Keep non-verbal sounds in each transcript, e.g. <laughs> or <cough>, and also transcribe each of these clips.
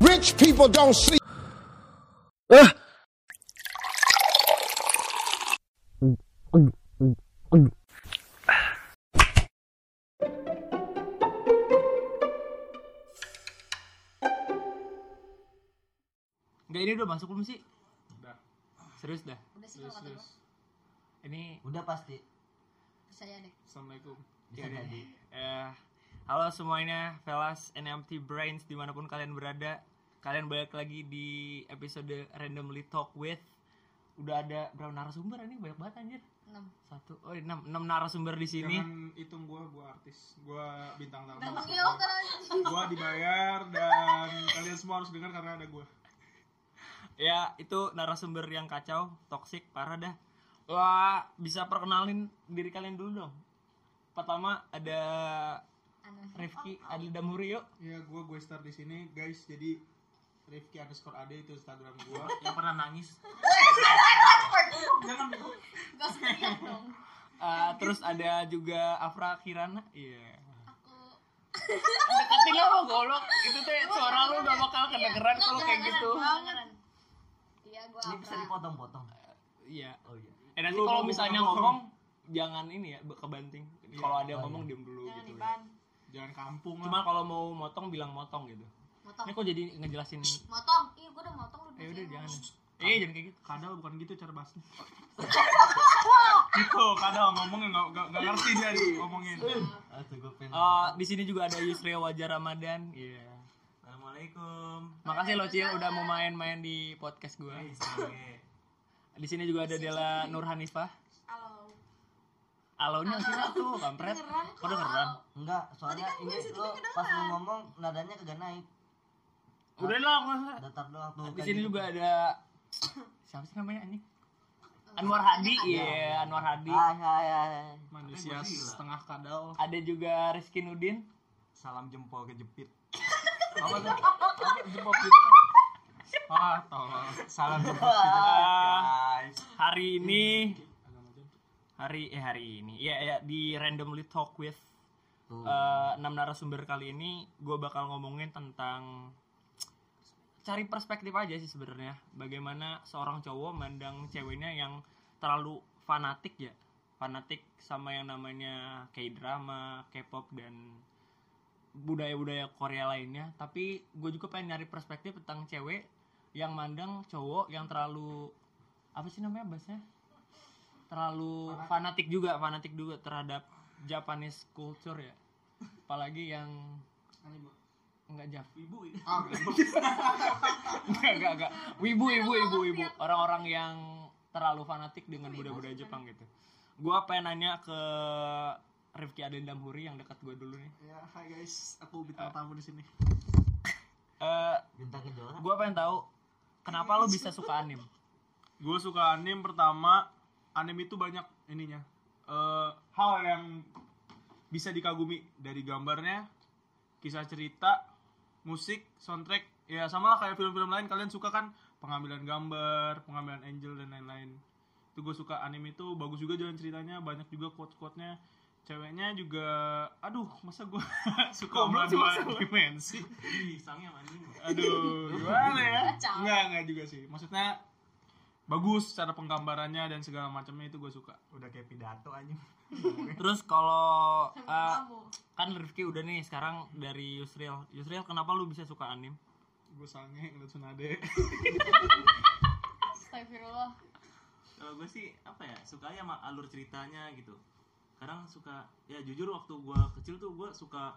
rich people don't sleep. Enggak ini udah masuk belum sih? Udah. Serius dah. Udah sih kalau kata gua. Ini Udah pasti. Percaya deh. Assalamualaikum. Ya udah. Eh, halo semuanya, Velas and Empty Brains dimanapun kalian berada. Kalian balik lagi di episode Randomly Talk With. Udah ada berapa narasumber ini? Banyak banget anjir. Enam. Satu, oh enam, enam narasumber di sini. Jangan hitung gue, gue artis, gue bintang tamu. Emang iya kan anjing. Gue dibayar dan kalian semua harus dengar karena ada gue. Ya, itu narasumber yang kacau, toksik, parah dah. Wah, bisa perkenalin diri kalian dulu dong. Pertama ada Rifki, ada Damurio. Ya, gue gue start di sini, guys. Jadi Rifki underscore AD itu Instagram gue. yang pernah nangis. Jangan bego. Gak <laughs> sekian dong. Eh, terus ada juga Afra Kirana. Iya. Aku Deketin lo golok. Itu teh suara lo gak bakal kedengeran kalau kayak gitu. banget. Iya gua Ini bisa apa? dipotong-potong. Iya. Oh iya. Eh nanti kalau misalnya ngomong jangan ini ya be- kebanting. Kalau ada yang ngomong diem dulu Jangan gitu. diban. Jangan kampung lah. Cuma kalau mau motong bilang motong gitu. Motong. Ini kok jadi ngejelasin Motong. Iya gua udah motong lu. Eh udah dulu. jangan. Eh jangan kayak gitu. Ya Kadal bukan gitu cara bahasnya. gitu, kadal ngomongnya nggak nggak nggak ngerti dia nih ngomongin. Aduh gue pengen. Eh, di sini juga ada Yusri Wajah Ramadan. Iya. Assalamualaikum. Makasih lo Cil udah mau main-main di podcast gue. Guys, oke. Di sini juga ada Dela Nur Hanifah. Halo. Alonya siapa tuh, kampret? Kok dengeran? Enggak, soalnya ini lo pas lu ngomong nadanya kagak naik. Udah lah, nggak usah. Datar doang tuh. Di kayak sini gitu. juga ada siapa sih namanya anjing? Anwar Hadi, iya Anwar Hadi. Hai hai hai. Manusia setengah kadal. Ada juga Rizky Nudin. Salam jempol kejepit. Apa tuh? Ah, tolong. Salam jempol. Guys. Hari ini hari eh hari ini ya ya di randomly talk with Tuh. eh, enam narasumber kali ini gue bakal ngomongin tentang cari perspektif aja sih sebenarnya bagaimana seorang cowok mandang ceweknya yang terlalu fanatik ya fanatik sama yang namanya kayak drama K-pop dan budaya-budaya Korea lainnya tapi gue juga pengen nyari perspektif tentang cewek yang mandang cowok yang terlalu apa sih namanya bahasanya terlalu fanatik juga fanatik juga terhadap Japanese culture ya apalagi yang nggak <laughs> Jap ibu Ah, <laughs> nggak nggak nggak wibu ibu ibu ibu orang-orang yang terlalu fanatik dengan budaya-budaya Jepang gitu gua pengen nanya ke Rifki Aden Damhuri yang dekat gue dulu nih Ya, hai guys, aku bintang tamu di sini. Eh, Bintang kejora. gue pengen tahu kenapa lo bisa suka anim gue suka anime pertama anime itu banyak ininya eh hal yang bisa dikagumi dari gambarnya kisah cerita musik soundtrack ya sama lah kayak film-film lain kalian suka kan pengambilan gambar pengambilan angel dan lain-lain itu gue suka anime itu bagus juga jalan ceritanya banyak juga quote-quote-nya ceweknya juga aduh masa gue <laughs> suka Goblok sih, dua masa lu. dimensi Sangnya mancing. <laughs> aduh gimana ya Kacau. enggak enggak juga sih maksudnya bagus cara penggambarannya dan segala macamnya itu gue suka Udah kayak pidato anjing. terus kalau eh, Kamu. kan Rifki udah nih sekarang dari Yusril Yusril kenapa lu bisa suka anim gue sange ngeliat Sunade Astagfirullah. kalau gue sih apa ya sukanya sama alur ceritanya gitu kadang suka ya jujur waktu gue kecil tuh gue suka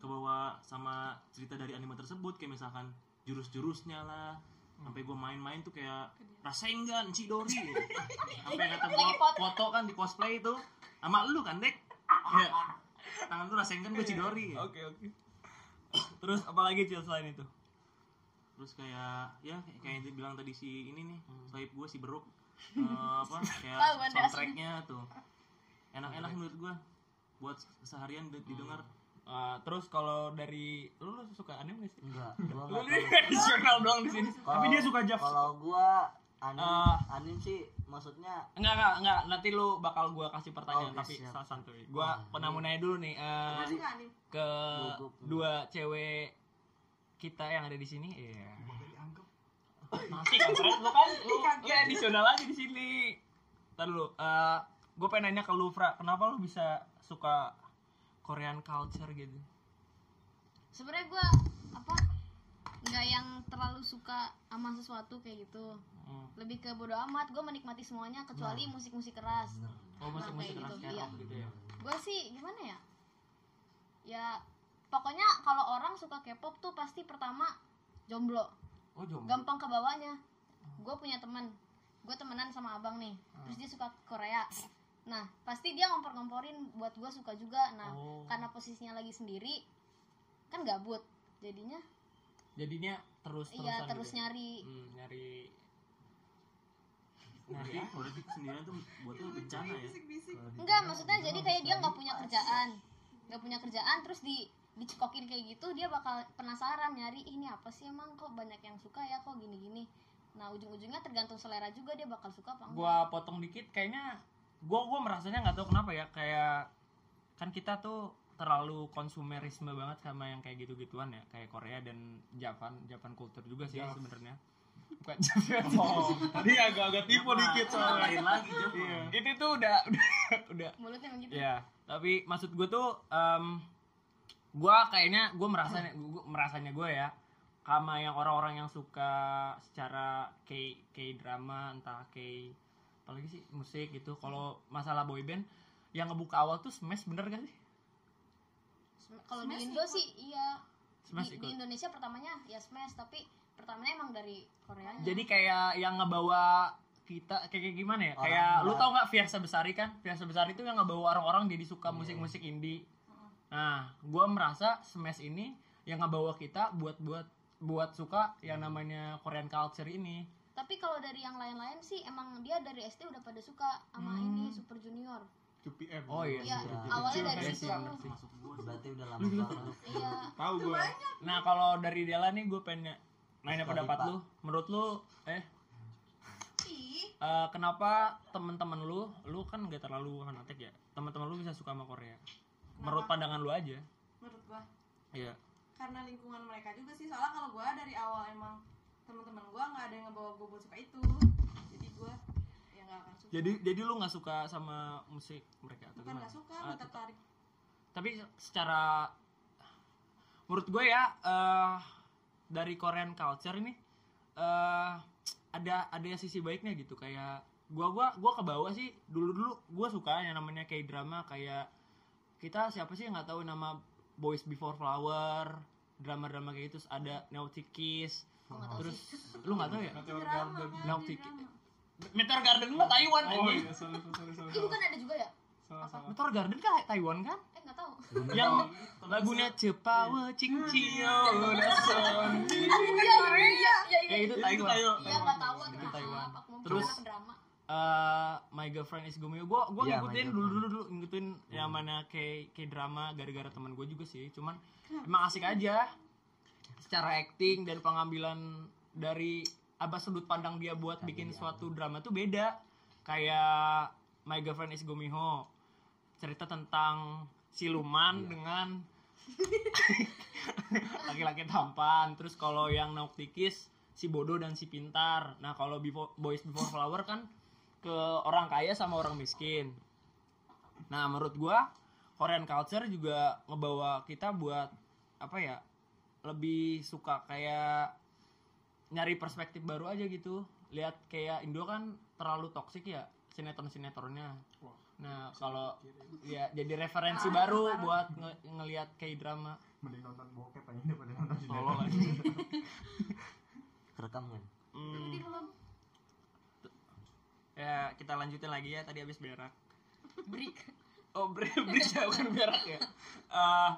kebawa sama cerita dari anime tersebut kayak misalkan jurus-jurusnya lah sampai gue main-main tuh kayak Rasengan, Chidori sampai kata gue foto kan di cosplay itu sama lu kan dek ya. tangan tuh Rasengan gue Chidori Oke oke. Terus apalagi cil selain itu? terus kayak ya kayak- kayak yang Hmm. dibilang tadi si ini nih sohib gue si <laughs> beruk Eh, apa Tahu, kayak Banda. ya. soundtracknya tuh enak-enak Iya. menurut gue buat seharian di- didengar Hmm. Eh, terus kalau dari lu, lu suka anime <laughs> gak sih? Enggak, gua Lu enggak. ini tradisional doang di sini. Tapi dia suka Jav. Kalau gua anim, Ah. anim sih maksudnya Enggak enggak enggak nanti lu bakal gua kasih pertanyaan Oke, tapi siap. sa- santuy. iya. Gua penamunnya dulu nih eh, ke Gugup. dua cewek kita yang ada di sini ya masih kan Fred, lu kan lu lu additional aja di sini Ntar dulu eh gue pengen nanya ke lu Fra kenapa lu bisa suka Korean culture gitu sebenarnya gue apa nggak yang terlalu suka sama sesuatu kayak gitu Hmm. Nah. lebih ke bodo amat gue menikmati semuanya kecuali musik-musik keras oh musik musik keras Nah, kayak gitu, kayak rock gitu ya gue sih gimana ya ya pokoknya kalau orang suka K-pop tuh pasti pertama jomblo oh jomblo Hmm. gampang ke bawahnya gue punya teman gue temenan sama abang nih terus dia suka Korea nah pasti dia ngompor-ngomporin buat gue suka juga nah Oh. karena posisinya lagi sendiri kan gabut jadinya jadinya terus terusan iya terus gitu ya? nyari Hmm, nyari nyari Iya. Berarti apa? berarti sendirian tuh buat lu bencana ya. enggak maksudnya jadi kayak dia nggak punya kerjaan nggak punya kerjaan terus di dicekokin kayak gitu dia bakal penasaran nyari "Ih, ini apa sih emang kok banyak yang suka ya kok gini-gini nah ujung-ujungnya tergantung selera juga dia bakal suka apa enggak gua potong dikit kayaknya gua gua merasanya nggak tahu kenapa ya kayak kan kita tuh terlalu konsumerisme banget sama yang kayak gitu-gituan ya kayak Korea dan Japan Japan culture juga sih sebenarnya bukan <laughs> Japan Oh, tadi agak-agak tipu dikit Soal soalnya. lain lagi ya. Jom. itu tuh udah <laughs> udah udah mulutnya gitu. begitu ya tapi maksud gue tuh em, gua kayaknya gue merasanya gua, merasanya gue ya sama yang orang-orang yang suka secara k k drama entah k apalagi sih musik gitu kalau masalah boyband yang ngebuka awal tuh smash bener gak sih kalau di Smash Indo ikut. sih iya smash di, di ikut Indonesia pertamanya ya smash tapi pertamanya emang dari Koreanya jadi kayak yang ngebawa kita kayak kayak gimana ya Orang kayak lu luar. tau nggak Fiersa Besari kan Fiersa Besari itu yang ngebawa orang-orang jadi suka musik-musik indie nah gua merasa Smash ini yang ngebawa kita buat buat buat suka yang namanya Korean culture ini tapi kalau dari yang lain-lain sih emang dia dari SD udah pada suka sama Hmm. ini Super Junior QPM. oh iya Iya, sih. awalnya Kecil dari kayak situ. sih, bener sih. Masuk gua. berarti udah lama banget iya Tahu gua. nah kalau dari Dela nih gue pengen nanya Suka pendapat Dipa. lu menurut lu eh Ih, eh, kenapa temen-temen lu lu kan gak terlalu fanatik ya temen-temen lu bisa suka sama Korea menurut pandangan lu aja menurut gua Iya. karena lingkungan mereka juga sih soalnya kalau gua dari awal emang teman-teman gua nggak ada yang ngebawa gua buat suka itu jadi gua ya nggak akan suka Jadi jadi lu nggak suka sama musik mereka atau bukan gimana? nggak suka Ah, nggak tertarik tapi secara menurut gue ya eh dari Korean culture ini eh ada ada sisi baiknya gitu kayak gua gua gua ke bawah sih dulu dulu gua suka yang namanya kayak drama kayak kita siapa sih yang nggak tahu nama Boys Before Flower drama-drama kayak gitu terus ada Naughty Kiss Gua nggak tahu terus lu nggak tahu ya Meteor drama Garden. kan Love di ticket. drama. Meteor Garden mah Taiwan Oh anjing. iya, sorry, sorry, sorry. Ih, bukan ada juga ya Salah, salah. Meteor Garden kan Taiwan kan eh nggak tahu yang lagunya cepawa cingcio nason iya iya iya ya itu Itu Taiwan Taiwan. iya nggak tahu aku Itu kenapa Taiwan. aku mau Terus- bicara drama Eh, my girlfriend is Gomeo gue gue Iya, ngikutin My Girlfriend. Hmm. dulu dulu dulu ngikutin yang mana kayak kayak drama gara-gara teman gue juga sih cuman emang asik aja secara acting dan pengambilan dari apa sudut pandang dia buat ya. bikin suatu drama tuh beda kayak my girlfriend is Gomiho cerita tentang siluman Iya. dengan <laughs> laki-laki tampan terus kalau yang nauktikis si bodoh dan si pintar nah kalau Before- boys before flower kan ke orang kaya sama orang miskin nah menurut gua Korean culture juga ngebawa kita buat apa ya lebih suka kayak nyari perspektif baru aja gitu lihat kayak Indo kan terlalu toksik ya sinetron sinetronnya nah kalau ya jadi referensi baru buat nge- ngelihat kayak drama mending nonton bokep aja daripada nonton Tolol sinetron. aja. kerekam kan Hmm. Ya, kita lanjutin lagi ya tadi habis berak. Break. Oh, break, <laughs> break ya, bukan berak ya. Eh,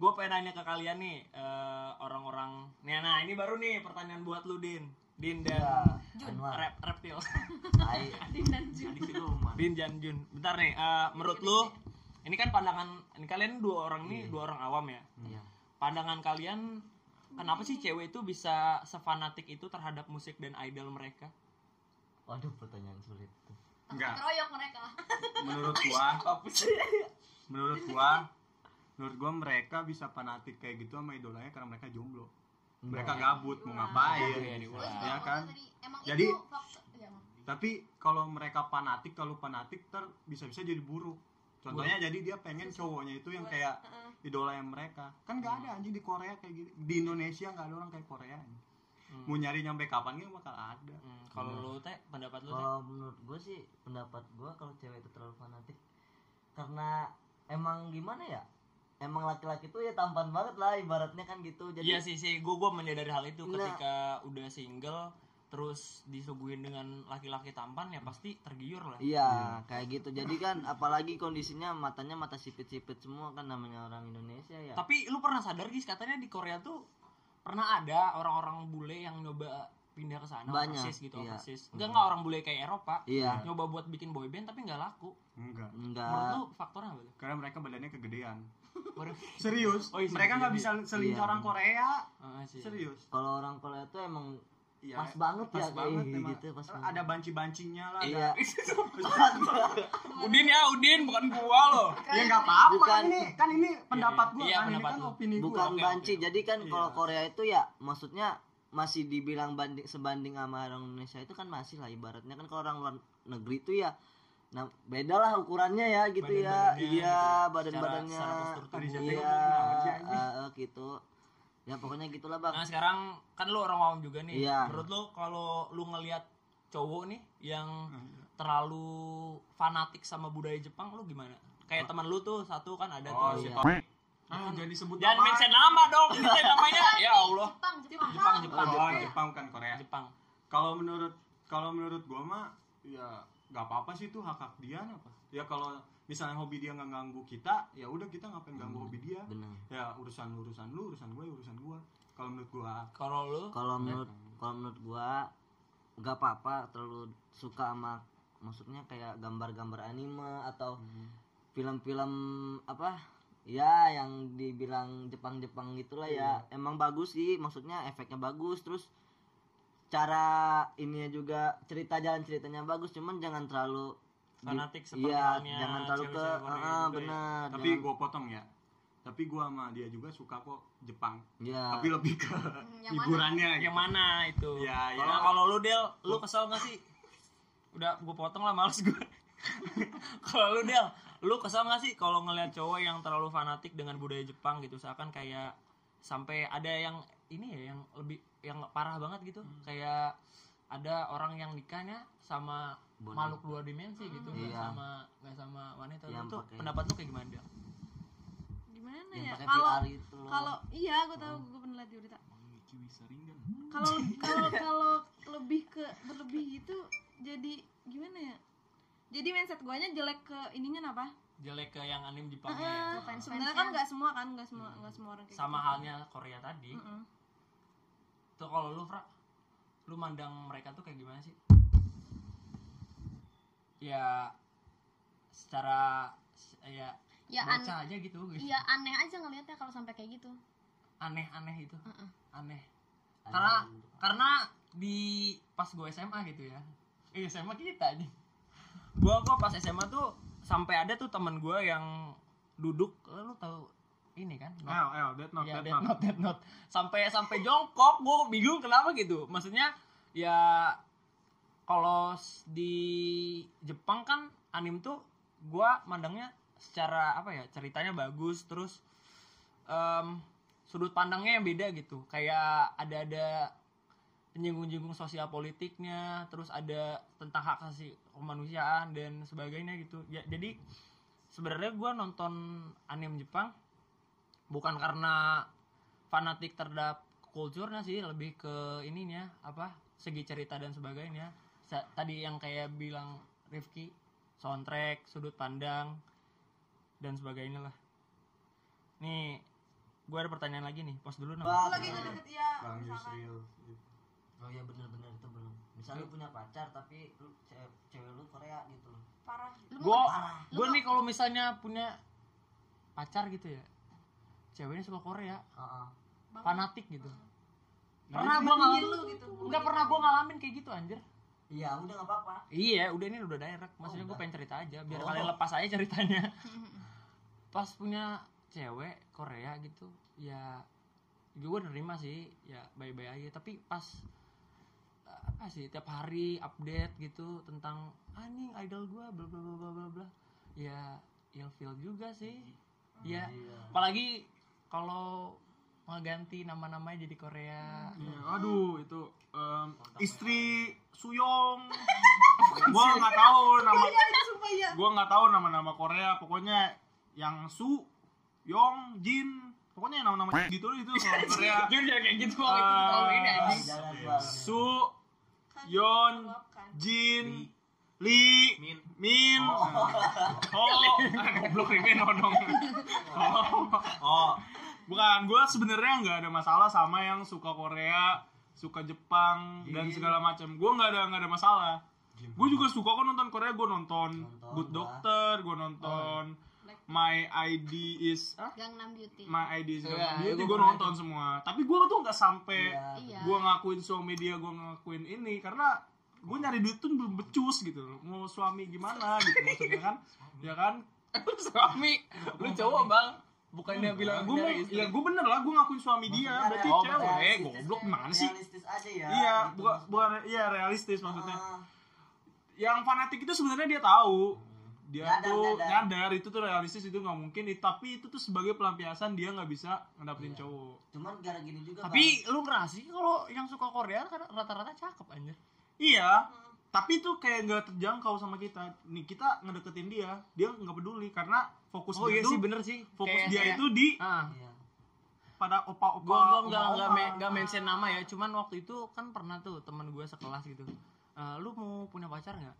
gue pengen nanya ke kalian nih eh, orang-orang. Nih, nah ini baru nih pertanyaan buat lu Din. Din dan Iya, Anwar rep, reptil. Ai Adik sih lu man. Din dan Jun. Bentar nih, eh, menurut lu ini kan pandangan ini kalian dua orang nih, dua orang awam ya. iya Pandangan kalian kenapa sih cewek itu bisa sefanatik itu terhadap musik dan idol mereka? waduh pertanyaan sulit tuh Enggak. keroyok mereka menurut gua menurut gua menurut gua mereka bisa fanatik kayak gitu sama idolanya karena mereka jomblo mereka gabut mau ngapain Iya, Gua juga ya nggak kan tahu tadi. Emang Jadi- itu faktor ya, Bang. tapi kalau mereka fanatik kalau fanatik ter bisa-bisa jadi buruk contohnya jadi dia pengen cowoknya itu yang Buat- kayak Heeh. idola yang mereka kan Hmm. nggak ada anjing di Korea kayak gini di Indonesia nggak ada orang kayak Korea anjing. mau nyari nyampe kapan gitu bakal ada Hmm, kalau lu teh pendapat lu teh kalau menurut gue sih pendapat gue kalau cewek itu terlalu fanatik karena emang gimana ya emang laki-laki tuh ya tampan banget lah ibaratnya kan gitu Iya jadi sih sih, gue gue menyadari hal itu Nah. ketika udah single terus disuguhin dengan laki-laki tampan ya pasti tergiur lah. iya kayak gitu jadi kan apalagi kondisinya matanya mata sipit-sipit semua kan namanya orang Indonesia ya Tapi lu pernah sadar guys katanya di Korea tuh pernah ada orang-orang bule yang nyoba pindah ke sana Banyak, overseas gitu iya. overseas. Enggak enggak orang bule kayak Eropa. iya Nyoba buat bikin boyband tapi nggak laku. enggak Menurut enggak lu faktornya apa? tuh? karena mereka badannya kegedean Waduh. serius Oh, iya, mereka nggak bisa serius. selincah Iya. orang Korea Ah, sih. serius kalau orang Korea tuh emang Iya, pas banget pas ya banget kayak emang. gitu pas ada banci-bancinya lah iya <laughs> Udin ya, Udin bukan gua loh. ya nggak apa-apa Bukan. kan ini kan ini pendapat iya. gua Iya, kan ini pendapat kan lu. opini gua bukan oke, banci oke. jadi kan Iya. kalau Korea itu ya maksudnya masih dibilang banding sebanding sama orang Indonesia itu kan masih lah ibaratnya kan kalau orang luar negeri itu ya nah beda lah ukurannya ya gitu ya Badan-badannya iya gitu. badan badannya Secara- secara postur Tadi tubuh. jatuh. iya ngomongin apa sih, anjing? eh, eh, gitu ya pokoknya gitulah bang Nah sekarang kan lu orang awam juga nih. Iya. Menurut lu kalau lu ngelihat cowok nih yang terlalu fanatik sama budaya Jepang lu gimana? Kayak teman lu tuh satu kan ada Oh, tuh si iya. Tom. ah jangan disebut Ya. Jangan nama. mention nama dong. Kita <laughs> namanya ya Allah. Jepang, Jepang. Jepang, Jepang, Oh, Jepang bukan Korea. Jepang. Kalau menurut kalau menurut gua mah ya nggak apa-apa sih itu hak hak dia apa. Ya kalau misalnya hobi dia nggak ganggu kita, ya udah kita ngapain ganggu hobi dia. benar Ya urusan lu, urusan lu, urusan gue, urusan gua. Kalau menurut gua Kalau lu kalau menurut kalau menurut gua nggak apa-apa terlalu suka sama maksudnya kayak gambar-gambar anime atau Hmm. film-film apa ya yang dibilang Jepang-Jepang gitulah ya Iya. emang bagus sih maksudnya efeknya bagus terus cara ininya juga cerita jalan ceritanya bagus cuman jangan terlalu di- fanatik seperti iya halnya jangan terlalu ke cewek-cewek Korea ah, juga ya. benar tapi jangan- gua potong ya. Tapi gua sama dia juga suka kok Jepang. ya Tapi lebih ke Hmm, yang mana? hiburannya Yang gitu. mana itu? Iya, Ya, ya. Kalau kalau lu Del, lu kesel gak sih? Udah gue potong lah males gue. <laughs> kalau lu Del, lu kesel gak sih kalau ngelihat cowok yang terlalu fanatik dengan budaya Jepang gitu, seakan kayak sampai ada yang ini ya yang lebih yang parah banget gitu, Hmm. kayak ada orang yang nikahnya sama Boneka. makhluk dua dimensi gitu, nggak Iya. sama nggak sama wanita. Yang itu pakai- pendapat lu kayak gimana? Del? gimana Iya. yang ya pakai kalau VR itu loh. kalau iya gue tahu gue pernah lihat di berita kalau kalau kalau lebih ke berlebih gitu jadi gimana ya jadi mindset guanya jelek ke ininya apa Jelek ke yang anim Jepangnya ya. Heeh. fans-fans sebenarnya kan yang- nggak semua kan nggak semua nggak semua orang kayak sama gitu. halnya Korea tadi. Mm-mm. Tuh kalau lu Fra, lu mandang mereka tuh kayak gimana sih? Ya secara ya, Ya, baca an- aja gitu guys. ya aneh aja ngelihatnya kalau sampai kayak gitu. Aneh-aneh itu. Mm-mm. Aneh. Karena karena di pas gue SMA gitu ya. Eh SMA kita aja. Gua gua pas SMA tuh sampai ada tuh teman gua yang duduk lu tahu ini kan El, El, that not, ya Iya, that dead not. note dead note sampai sampai jongkok gue bingung kenapa gitu maksudnya ya kalau s- di Jepang kan anim tuh gue mandangnya secara apa ya ceritanya bagus terus em, sudut pandangnya yang beda gitu kayak ada ada penyinggung-jinggung sosial politiknya terus ada tentang hak asasi kemanusiaan dan sebagainya gitu ya jadi sebenarnya gue nonton anim Jepang bukan karena fanatik terhadap kulturnya sih lebih ke ininya apa segi cerita dan sebagainya Sa- tadi yang kayak bilang Rifki soundtrack sudut pandang dan sebagainya lah nih gue ada pertanyaan lagi nih pos dulu nama Kalau lagi nggak deket ya Bang misalkan Yusril. gitu. Oh iya bener-bener itu belum. Misalnya lu punya pacar tapi lu cewek, cewek lu Korea gitu loh. parah Lu gue mau gue nih kalau misalnya punya pacar gitu ya ceweknya suka Korea Heeh. fanatik gitu pernah gue Ngalamin ngalamin lu gitu nggak pernah gue ngalamin kayak gitu anjir Iya, udah enggak apa-apa. Iya, udah ini udah direct. Maksudnya Oh, gue udah. pengen cerita aja biar Oh. kalian lepas aja <laughs> ceritanya. Pas punya cewek Korea gitu, ya gue nerima sih ya baik-baik aja tapi pas eh, apa sih tiap hari update gitu tentang anjing idol gue bla bla bla bla bla bla ya ilfil juga sih Hmm. ya Iya. apalagi kalau ngeganti nama-namanya jadi Korea Hmm. Iya, aduh itu em, istri <laughs> Suyong. gua nggak tahu nama sumpah ya gua nggak tahu nama-nama Korea, pokoknya yang Su, Yong, Jin, pokoknya yang nama-nama gitu itu kalau Korea. jujur ya kayak gitu kalau itu Ah. tuh tahun ini, anjing. Jangan Iya. bang. Su, Yon, Jin, Li, Min. Min, Oh, goblok Li Min oh, dong. Oh, Oh, bukan. Gue sebenarnya nggak ada masalah sama yang suka Korea, suka Jepang dan segala macam. Gue nggak ada nggak ada masalah. Gue juga suka kok nonton Korea. Gue nonton Nonton, Good gua. Doctor, gue nonton My ID is ah? Gangnam Beauty. My ID is Iya, Gangnam Beauty. gua Gue pernah nonton semua. Tapi gue tuh nggak sampai Iya. iya. gue ngakuin suami dia gue ngakuin ini karena gue nyari duit tuh belum becus gitu loh. mau suami gimana gitu maksudnya kan ya kan suami lu cowok bang bukannya bilang gue mau ya gue bener lah gue ngakuin suami Iya, dia berarti Oh, cewek bener. eh goblok mana sih Realistis aja ya. iya gitu. bukan bukan iya realistis maksudnya Ah, yang fanatik itu sebenarnya dia tahu dia Nyadar, tuh nyadar. nyadar itu tuh realistis itu nggak mungkin tapi itu tuh sebagai pelampiasan dia nggak bisa ngedapetin Iya. cowok Cuman gara gini juga. tapi lu ngerasa sih kalau yang suka Korea kan rata-rata cakep anjir Iya, tapi itu kayak nggak terjangkau sama kita. Nih kita ngedeketin dia, dia nggak peduli karena fokus dia itu bener Oh, iya sih fokus dia itu di ah Bang. Iya. pada opa-opa. gue gue nggak oma-oma. nggak me- nggak mention nama ya cuman waktu itu kan pernah tuh teman gue sekelas gitu Eh, lu mau punya pacar nggak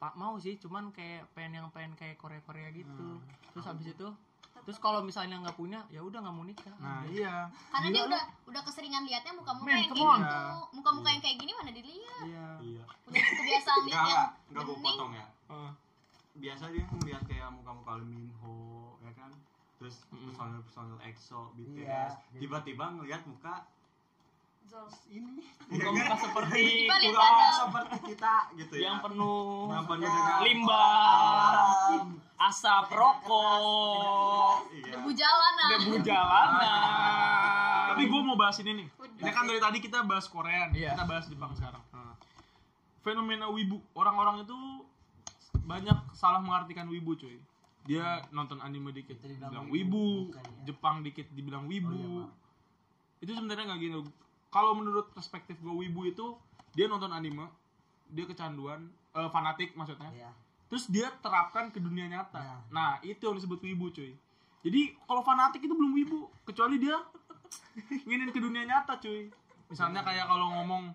pak mau sih cuman kayak pengen yang pengen kayak Korea Korea gitu Hmm. terus habis itu terus kalau misalnya nggak punya ya udah nggak mau nikah Nah iya, Karena dia udah udah keseringan liatnya muka-muka Men, yang come kayak on. gitu. Muka-muka yang kayak gini mana dilihat. iya. iya. Udah gitu kebiasaan Enggak lihat yang enggak, enggak gue bening. potong ya. Eh, Biasa dia ngeliat kayak muka-muka Minho, ya kan? Terus personil-personil EXO, BTS, Iya. tiba-tiba ngeliat muka Zol. ini muka-muka seperti Tiba lihat muka <laughs> ada. seperti kita gitu ya. yang penuh yang penuh Ya. Nah. dengan limbah asap rokok Iya. Debu jalanan. debu jalanan Tapi gue mau bahas ini nih. Udah. Ini kan dari tadi kita bahas Korea, nih, Iya. kita bahas Jepang sekarang. Fenomena wibu, orang-orang itu banyak salah mengartikan wibu cuy. Dia nonton anime dikit Itu dibilang dibilang wibu. wibu, Bukan, ya. Jepang dikit dibilang wibu. Oh, iya, Bang. itu sebenarnya nggak gitu. Kalau menurut perspektif gue wibu itu dia nonton anime, dia kecanduan, eh, fanatik maksudnya Iya. terus dia terapkan ke dunia nyata. Nah. Nah, itu yang disebut wibu, cuy. Jadi, kalau fanatik itu belum wibu, kecuali dia nginin ke dunia nyata, cuy. Misalnya kayak kalau ngomong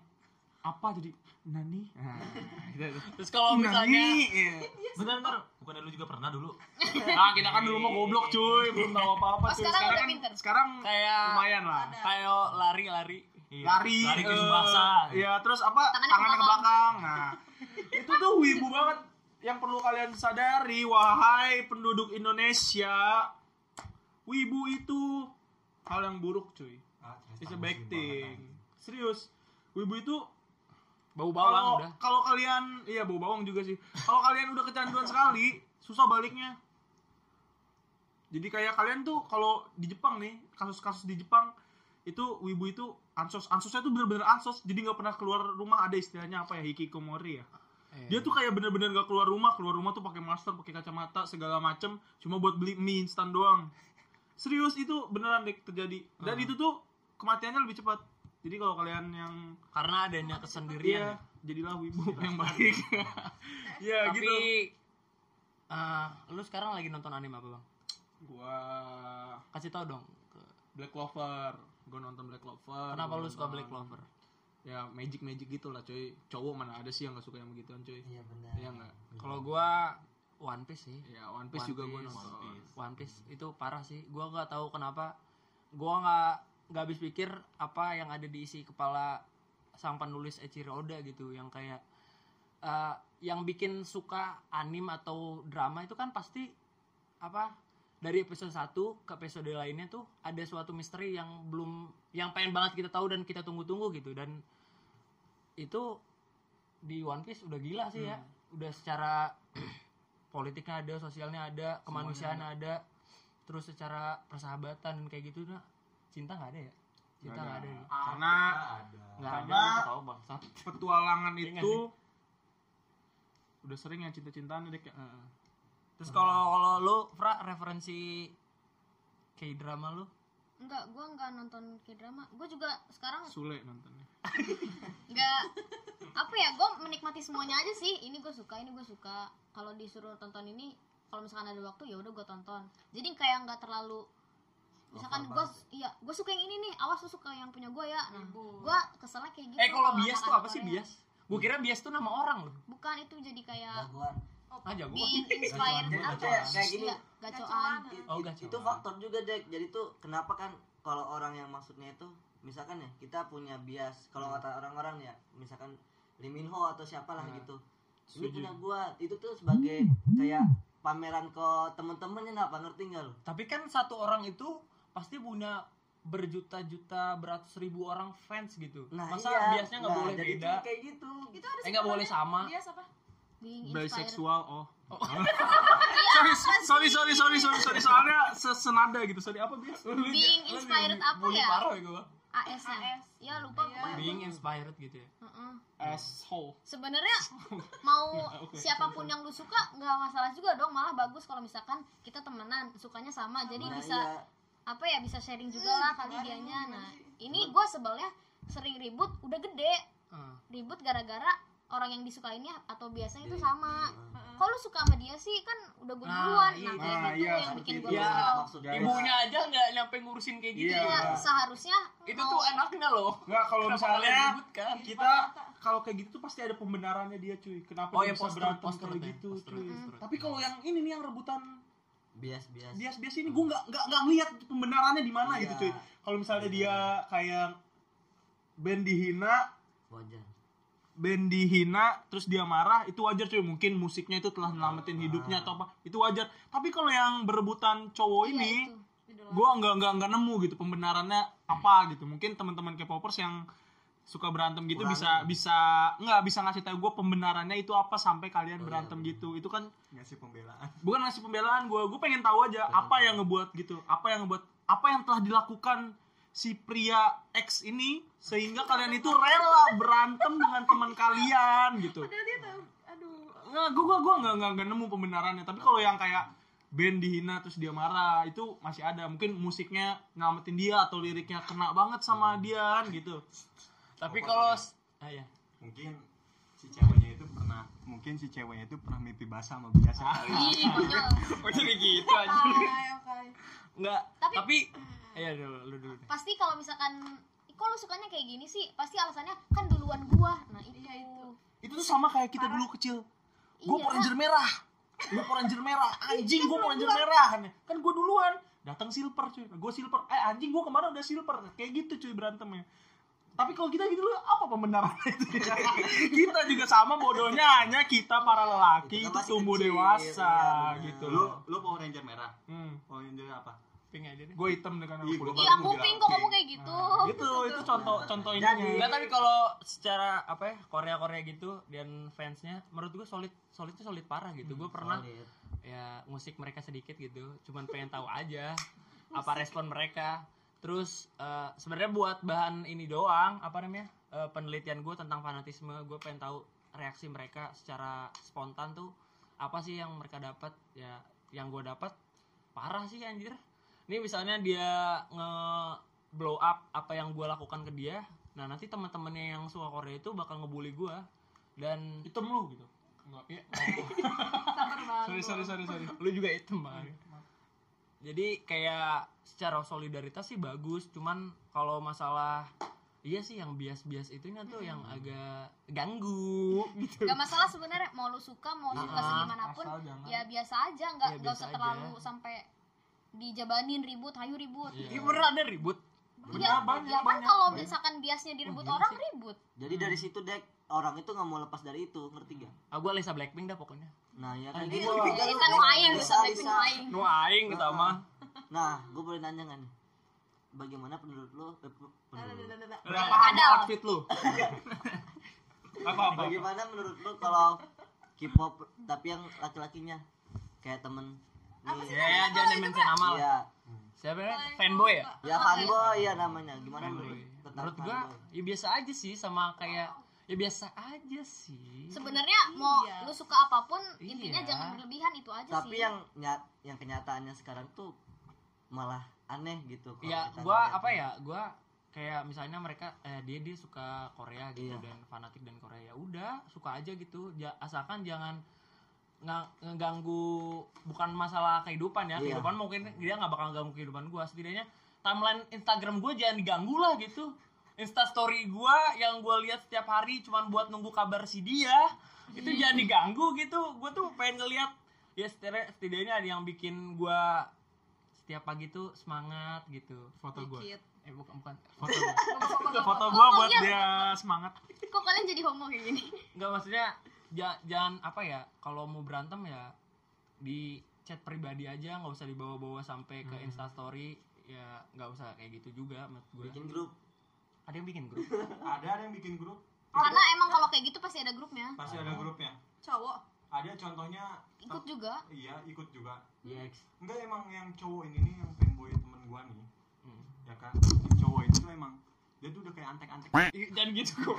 apa jadi nani. Nah, gitu, gitu. terus kalau misalnya iya. Bentar, bentar. Bukan lu juga pernah dulu? Nah, kita kan dulu mau goblok, cuy. Belum tahu apa-apa, Oh, cuy. sekarang udah kan- pinter. sekarang Kayak- lumayan lah. kayak lari-lari Iya. Lari, lari ke eh, basah. Iya, terus apa? Tangannya Tangannya, ke ke belakang. <laughs> Nah, itu tuh wibu banget yang perlu kalian sadari wahai penduduk Indonesia. Wibu itu hal yang buruk, cuy. Ah, ternyata It's a muslim bad banget, thing. anjing. Serius. Wibu itu bau kalau bawang udah kalau kalian iya bau bawang juga sih. Kalau kalian udah kecanduan sekali, susah baliknya. Jadi kayak kalian tuh kalau di Jepang nih, kasus-kasus di Jepang itu wibu itu ansos ansosnya tuh bener-bener ansos jadi nggak pernah keluar rumah ada istilahnya apa ya hikikomori ya Eh. dia tuh kayak bener-bener nggak keluar rumah keluar rumah tuh pakai masker pakai kacamata segala macem cuma buat beli mie instan doang serius itu beneran deh terjadi dan Hmm. itu tuh kematiannya lebih cepat jadi kalau kalian yang karena adanya kesendirian Iya, jadilah wibu yang baik. <laughs> tapi Iya gitu. eh, lu sekarang lagi nonton anime apa bang Gua kasih tau dong Black Clover. Gua nonton Black Clover. kenapa Gua lu suka nonton- Black Clover Ya magic magic gitu lah cuy. Cowok mana ada sih yang gak suka yang begituan cuy? Iya benar. Iya enggak? kalau gua One Piece sih Ya One Piece One juga gua Piece. nonton. One Piece. One Piece itu parah sih gua nggak tahu kenapa gua nggak nggak habis pikir apa yang ada di isi kepala sang penulis Eiichiro Oda gitu yang kayak eh, yang bikin suka anime atau drama itu kan pasti apa dari episode 1 ke episode lainnya tuh ada suatu misteri yang belum yang pengen banget kita tahu dan kita tunggu-tunggu gitu dan itu di One Piece udah gila sih ya Hmm. udah secara politiknya ada sosialnya ada kemanusiaan ada. terus secara persahabatan kayak gitu nah cinta nggak ada ya Kita nggak ada ya. Ah, Karena Nggak ada. Karena- Tahu bangsat. petualangan Iya nggak itu udah sering ya cinta-cintaan dek ya. Terus kalau kalau lu Fra referensi kayak drama lu Enggak, gue enggak nonton K-drama. Gue juga sekarang Sule nontonnya. enggak apa ya, gue menikmati semuanya aja sih. Ini gue suka, ini gue suka. Kalau disuruh tonton ini, kalau misalkan ada waktu ya udah gue tonton. Jadi kayak nggak terlalu misalkan gue ya? iya gue suka yang ini nih awas lu suka yang punya gue ya nah Hmm. gue keselnya kayak gitu Eh kalau bias makan tuh apa sih Korea. bias? Gue kira bias tuh nama orang loh. bukan itu jadi kayak jagoan Aja gue. being inspired Gacoan. apa Kayak- kayak gini. Iya, gacoan gitu. Oh, It- gacoan. itu faktor juga Jack jadi tuh kenapa kan kalau orang yang maksudnya itu misalkan ya kita punya bias kalau Hmm. kata orang-orang ya misalkan Liminho atau siapalah gitu ini punya gua itu tuh sebagai kayak pameran ke temen-temennya apa ngerti nggak lo Tapi kan satu orang itu pasti punya berjuta-juta beratus ribu orang fans gitu. nah Masa iya biasnya nggak Nah, boleh jadi beda? tuh kayak gitu Itu ada Eh nggak boleh sama. Dia siapa? being inspired Biseksual oh. <laughs> sorry, sorry, sorry, sorry, sorry, sorry, soalnya sesenada gitu. Sorry apa bias? being inspired apa Bully ya parah ya gue. AS nya ya lupa pokoknya Being inspired gitu ya. Heeh. Asshole. sebenarnya mau siapapun yang lu suka nggak masalah juga dong malah bagus kalau misalkan kita temenan sukanya sama jadi nah, bisa iya. apa ya bisa sharing juga Hmm, lah kali dianya nah ini gue sebelnya sering ribut udah gede Ah. ribut gara-gara orang yang disukainnya atau iya. biasanya itu sama kok lu suka sama dia sih kan udah gue Nah, duluan nah, iya. kayak Nah, gitu iya, yang bikin gue seperti itu. kesel maksudnya Ibunya aja nggak nyampe ngurusin kayak gitu. Iya. Iya, seharusnya Itu tuh enaknya loh. Enggak kalau Kenapa kalian misalnya ribut kan? kita kalau kayak gitu tuh pasti ada pembenarannya dia cuy. Kenapa Oh, dia ya, bisa postur- berantem postur kayak itu ya, gitu postur cuy. itu, postur itu. Tapi kalau yang ini nih yang rebutan bias bias bias bias ini gue nggak nggak nggak ngeliat pembenarannya di mana Iya. gitu cuy kalau misalnya dia kayak band dihina wajar band dihina terus dia marah itu wajar cuy mungkin musiknya itu telah nyelamatin hidupnya atau apa itu wajar tapi kalau yang berebutan Iya, cowok ini itu. gue nggak nggak nggak nemu gitu pembenarannya apa gitu mungkin teman-teman K-popers yang suka berantem gitu bisa bisa nggak bisa ngasih tahu gue pembenarannya itu apa sampai kalian berantem gitu itu kan ngasih pembelaan bukan ngasih pembelaan gue gue pengen tahu aja apa yang ngebuat gitu apa yang ngebuat apa yang telah dilakukan si pria X ini sehingga kalian itu rela berantem dengan teman kalian gitu Padahal dia tahu. Aduh. nggak gue gue nggak nggak nggak nemu pembenarannya tapi kalau yang kayak band dihina terus dia marah itu masih ada mungkin musiknya ngamatin dia atau liriknya kena banget sama Hmm. dia kan gitu Tapi kalau ah, iya. mungkin si ceweknya itu pernah mungkin si ceweknya itu pernah mimpi basah sama biasa Ah, iya. Ih, konyol. <laughs> Oh, jadi gitu aja. Oke, oke. Enggak. Tapi, Tapi- iya dulu lu dulu deh. pasti kalau misalkan "Ih, kok lu sukanya kayak gini sih pasti alasannya kan duluan gua nah itu Iya itu. itu tuh sama kayak kita dulu kecil gue Iya. Power Ranger merah gue Power Ranger merah anjing gue Power Ranger merah kan gue duluan datang silver cuy gue silver eh anjing gue kemarin udah silver kayak gitu cuy berantemnya tapi kalau kita gitu dulu apa pembenarannya <laughs> itu kita juga sama bodohnya hanya kita para lelaki Kita itu kan masih tumbuh kecil, dewasa iya benar. gitu Lu loh lu Power Ranger merah. hmm. Power Ranger apa? Pink aja deh. gue hitam dengan Ih, gua- kulit Iya, kuping kok kamu kayak gitu. itu itu contoh contoh ini Enggak tapi kalau secara apa ya Korea Korea gitu dan fansnya menurut gue solid solid tuh solid parah gitu. Hmm, Gue pernah Solid. ya musik mereka sedikit gitu. Cuman pengen tahu aja apa respon mereka. Terus eh, sebenarnya buat bahan ini doang apa namanya eh, penelitian gue tentang fanatisme gue pengen tahu reaksi mereka secara spontan tuh apa sih yang mereka dapat ya yang gue dapat parah sih anjir ini misalnya dia nge blow up apa yang gue lakukan ke dia nah nanti teman-temannya yang suka Korea itu bakal ngebully gue dan hitam lu gitu Enggak, iya. sorry sorry sorry sorry <laughs> lu juga hitam Bang. jadi kayak secara solidaritas sih bagus cuman kalau masalah iya sih yang bias-bias itunya tuh yang agak ganggu gitu Gak masalah sebenarnya mau lu suka mau suka segimanapun Nah, asal jangan- ya biasa aja nggak Iya, nggak biasa usah aja. terlalu sampai dijabanin ribut, hayu ribut. Ini beneran ada ribut Ya, Iya. banyak, ya Iya kan kalau misalkan biasnya direbut orang ribut. jadi Hmm. dari situ Dek orang itu nggak mau lepas dari itu ngerti gak ah gue Lisa Blackpink dah pokoknya nah ya kan Anjing, Iya. gitu. lu Kan Jadi lu kan kayak aing bisa, bisa bisa. aing. nu aing gitu mah Nah, gue boleh nanya nggak nih? Bagaimana menurut lo? eh, pe- menurut- udah paham Ada. outfit <laughs> lu apa apa Bagaimana menurut lo kalau K-pop tapi yang laki-lakinya kayak temen? ya ya jangan mention nama lah Iya. Siapa ya? Kalau yang Fanboy ya? cowok, Ya fanboy ya namanya. Gimana lu? Fanboy. Tentang Menurut gua fanboy. ya biasa aja sih sama kayak ya biasa aja sih. Sebenarnya mau Iya. lu suka apapun, Iya. intinya jangan berlebihan itu aja Tapi sih. yang nyat yang kenyataannya sekarang tuh malah aneh gitu kalau ya kita gua ngeliatnya. apa ya gua kayak misalnya mereka eh, dia dia suka Korea gitu Iya. dan fanatik dan Korea ya udah suka aja gitu Ja- asalkan jangan nga- ngeganggu bukan masalah kehidupan ya Iya. kehidupan mungkin dia nggak bakal ganggu kehidupan gua setidaknya timeline Instagram gua jangan diganggu lah gitu Insta story gua yang gua lihat setiap hari cuman buat nunggu kabar si dia itu jangan diganggu gitu gua tuh pengen ngeliat ya setidaknya setidaknya ada yang bikin gua setiap pagi tuh semangat gitu foto gua dikit. eh bukan bukan foto foto gua buat dia semangat Kok kalian jadi homo kayak gini? nggak maksudnya ja- jangan apa ya kalau mau berantem ya di chat pribadi aja nggak usah dibawa-bawa sampai Hmm. ke instastory ya nggak usah kayak gitu juga menurut gue bikin grup ada yang bikin <laughs> grup Ada ada yang bikin grup, Karena emang kalau kayak gitu pasti ada grupnya. pasti ada grupnya. Cowok. Ada contohnya Ikut juga. iya ikut juga. GX. Enggak emang yang cowok ini nih yang fanboy temen gua nih. Hmm. Ya kan? Yang cowok itu tuh emang dia tuh udah kayak antek-antek. Iya, Ih, jangan gitu kok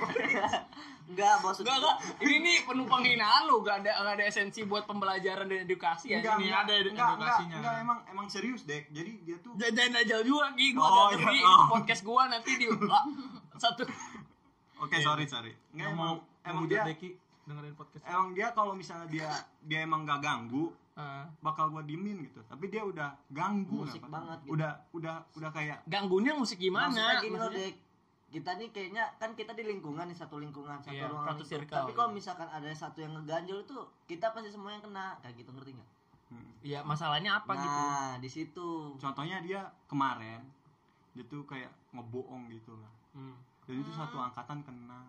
Enggak, maksud nggak nggak ini nih penumpang hinaan lu nggak ada nggak ada esensi buat pembelajaran dan edukasi ya ini ada edu- edukasinya. Iya. enggak, Enggak, enggak, emang emang serius, Dek. Jadi dia tuh jajan aja juga Gi. gua Oh, nggak iya. ngerti Oh. podcast gua nanti di ah, satu Oke, sorry, sorry. Iya. Enggak yang emang mau emang emang dia Deki dengerin podcast Eh. emang dia kalau misalnya dia dia emang gak ganggu, Ah. bakal gua diemin gitu. Tapi dia udah ganggu Musik kenapa? banget gitu. Udah udah udah kayak ganggunya musik gimana Maksudnya gini loh, Maksudnya- Dek. Kita nih kayaknya kan kita di lingkungan nih satu lingkungan satu Iya, ruangan. satu itu. circle, Tapi kalau gitu. misalkan ada satu yang ngeganjel itu kita pasti semua yang kena kayak gitu ngerti nggak? hmm. ya masalahnya apa gitu Nah di situ. contohnya dia kemarin dia tuh kayak ngebohong gitu lah. Hmm. Jadi Ah. itu satu angkatan kena.